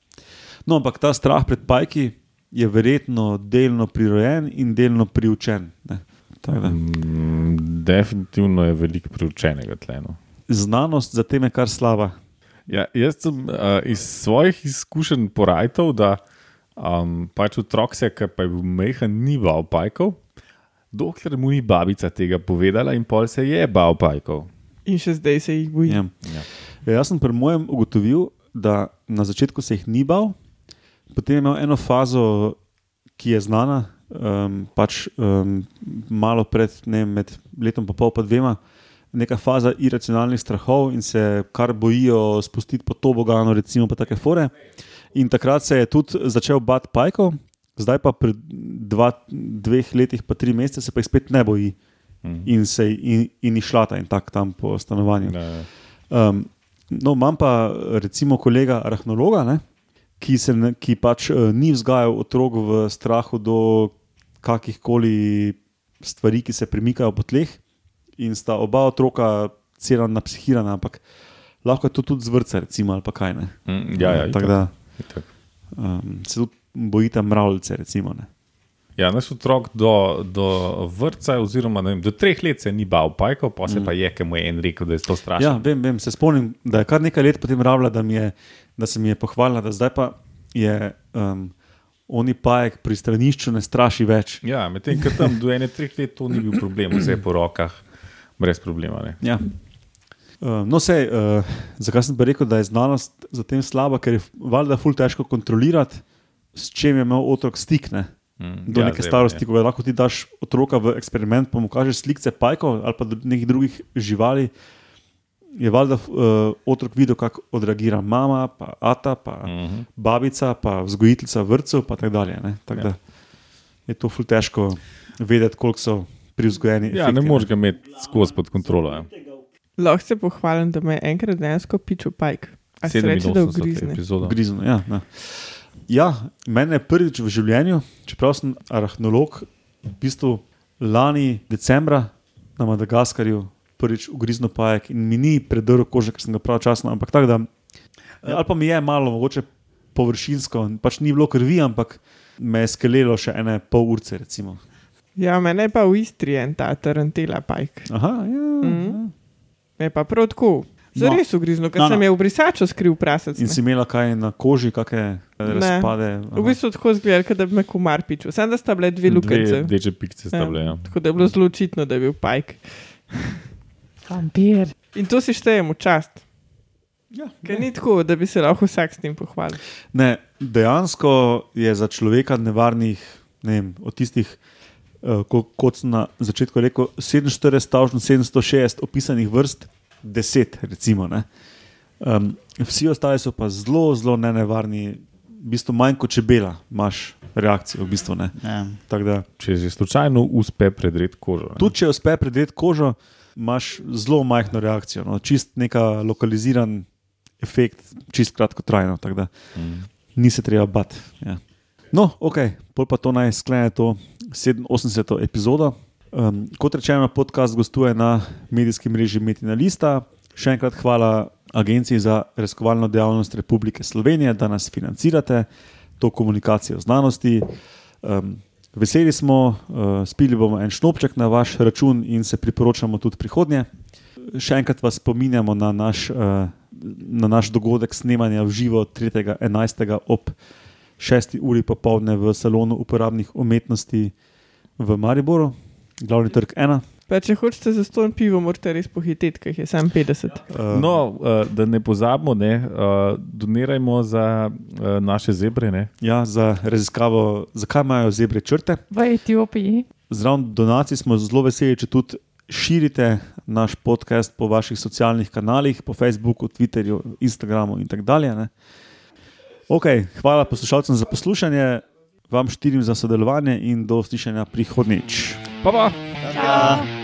Speaker 1: No, ampak ta strah pred pajki je verjetno delno prirojen in delno priučen. ne. Tako da.
Speaker 3: Mm, definitivno je veliko no. priučenega tleno.
Speaker 1: Znanost za teme, kar slaba.
Speaker 3: Ja, jaz sem uh, iz svojih izkušenj porajal, da um, pač otrok se, ki pa je bil mehen, ni bal pajkov, dokler mu ni babica tega povedala in pol se je bal pajkov.
Speaker 2: In še zdaj se jih boji.
Speaker 1: Ja. Ja. Jaz sem pri mojem ugotovil, da na začetku se jih ni bal, potem je imel eno fazo, ki je znana, um, pač um, malo pred ne, vem, med letom in pol, pa dvema, neka faza iracionalnih strahov in se kar bojijo spustiti po toboganu, recimo pa take fore. In takrat se je tudi začel bat pajkov, zdaj pa pri dva, dveh letih, pa tri mesece se pa jih spet ne boji. In se in, in išlata in tako tam po stanovanju.
Speaker 3: Ne.
Speaker 1: Um, no, imam pa recimo kolega arahnologa, ne, ki, se, ne- ki pač uh, ni vzgajal otrok v strahu do kakih koli stvari, ki se premikajo po tleh, in sta oba otroka celo napsihirana, ampak lahko je to tudi zvrca, recimo, ali pa kaj ne.
Speaker 3: Mm, ja, ja,
Speaker 1: Tako
Speaker 3: itak,
Speaker 1: da
Speaker 3: itak.
Speaker 1: um, se tudi bojita mravljice, recimo. Ne.
Speaker 3: ja, naš otrok do, do vrca, oziroma ne vem, do treh let se ni bal pajkov, pa se mm. pa je, ki mu je en rekel, da je to strašno.
Speaker 1: Ja, vem, vem, se spomnim, da je kar nekaj let potem rabila, da, mi je, da se mi je pohvalila, da zdaj pa je um, oni pajek pri stranišču ne straši več.
Speaker 3: Ja, medtem ko tam do ene treh let to ni bil problem, zdaj po rokah, brez problema. Ne.
Speaker 1: Ja. Uh, no, sej, uh, zakaj sem pa rekel, da je znanost za tem slaba, ker je valjda ful težko kontrolirati, s čim je imel otrok stik. Ne?
Speaker 3: Mm,
Speaker 1: Do ja, neke
Speaker 3: zdaj,
Speaker 1: starosti,
Speaker 3: ja.
Speaker 1: ko ga lahko ti daš otroka v eksperiment, pa mu kažeš slike pajkov ali pa dru- nekih drugih živali, je valjda f- uh, otrok videl, kako odreagira mama, pa ata, pa
Speaker 3: Mhm.
Speaker 1: babica, pa vzgojiteljica vrtcev, pa tako dalje. ne. Tako
Speaker 3: Ja.
Speaker 1: da je to ful težko vedeti, koliko so privzgojeni.
Speaker 3: Ja, ne
Speaker 1: efekti,
Speaker 3: moreš ga imeti skozi pod kontrolo. Ja.
Speaker 2: Lahko se pohvalim, da me je enkrat dejansko pičil pajk. A se reče, da
Speaker 3: 87
Speaker 2: ogrizne.
Speaker 3: epizoda.
Speaker 1: Grizno, ja, ne. ja, meni je prvič v življenju, čeprav sem arahnolog, v bistvu lani decembra na Madagaskarju prvič ugriznil pajek in mi ni predrl kože, ker sem ga pravočasno, ampak tako da. ja, Ali pa mi je malo, mogoče površinsko, pač ni bilo krvi, ampak me je skelelo še ene pol urce. Recimo.
Speaker 2: Ja, mene je pa v Istri en ta tarantela pajk.
Speaker 1: Aha, ja.
Speaker 2: Mhm. Me je pa prav tako. Zares no. ugrizno, ker no,
Speaker 4: No, no.
Speaker 2: no. sem je v brisačo skril prasec.
Speaker 1: In
Speaker 2: ne.
Speaker 1: si imela kaj na koži, kakšne razpade.
Speaker 2: V bistvu tako zgleda, kot da bi me kumar pičil. Samo da sta bile dve
Speaker 3: Dve
Speaker 2: lukence.
Speaker 3: Rdeče pikice sta
Speaker 2: Ja.
Speaker 3: bile. Ja.
Speaker 2: Tako da je bilo zelo očitno, da je bil pajk.
Speaker 5: Vampir.
Speaker 2: In to si štejemo čast.
Speaker 1: Ja,
Speaker 2: Ker ni tako, da bi se lahko vsak s tem pohvalil.
Speaker 1: Ne, dejansko je za človeka nevarnih, ne vem, od tistih, eh, ko, kot sem na začetku rekel, 47, tažno 760 opisanih vrst, 10, recimo. ne. Um, vsi ostali so pa zelo, zelo ne nevarni, v bistvu manj kot čebela, imaš reakcijo. V bistvu, ne.
Speaker 4: Ja.
Speaker 1: Tako da,
Speaker 3: Če že slučajno uspe predred kožo. ne.
Speaker 1: tudi če uspe predreti kožo, imaš zelo majhno reakcijo, no, čist neka lokaliziran efekt, čist kratkotrajno. tako da.
Speaker 3: Mm.
Speaker 1: ni se treba bat. Ja. No, ok, pol pa to naj sklene to 87. epizodo. Um, kot rečeno, podcast gostuje na medijski mreži Metina Lista. Še enkrat hvala Agenciji za raziskovalno dejavnost Republike Slovenije, da nas financirate, to komunikacijo znanosti. Um, veseli smo, uh, spili bomo en šnopček na vaš račun in se priporočamo tudi prihodnje. Še enkrat vas spominjamo na naš, eh, na naš dogodek snemanja v živo 3.11. ob 6. uri popovdne v salonu uporabnih umetnosti v Mariboru, glavni trg 1.
Speaker 2: Pa če hočete za ston pivo, morate res pohiteti, ker jih je sam 50.
Speaker 1: Eh,
Speaker 3: No, eh, da ne pozabimo, ne, eh, donirajmo za eh, naše zebre. Ne.
Speaker 1: ja, za raziskavo, zakaj imajo zebre črte.
Speaker 5: V Etiopiji.
Speaker 1: Zraven donacij smo zelo veseli, če tudi širite naš podcast po vaših socialnih kanalih, po Facebooku, Twitterju, Instagramu in tako dalje. Ne? Ok, hvala poslušalcem za poslušanje, vam štirim za sodelovanje in do slišanja prihodnjič.
Speaker 3: Pa pa.
Speaker 5: Ja.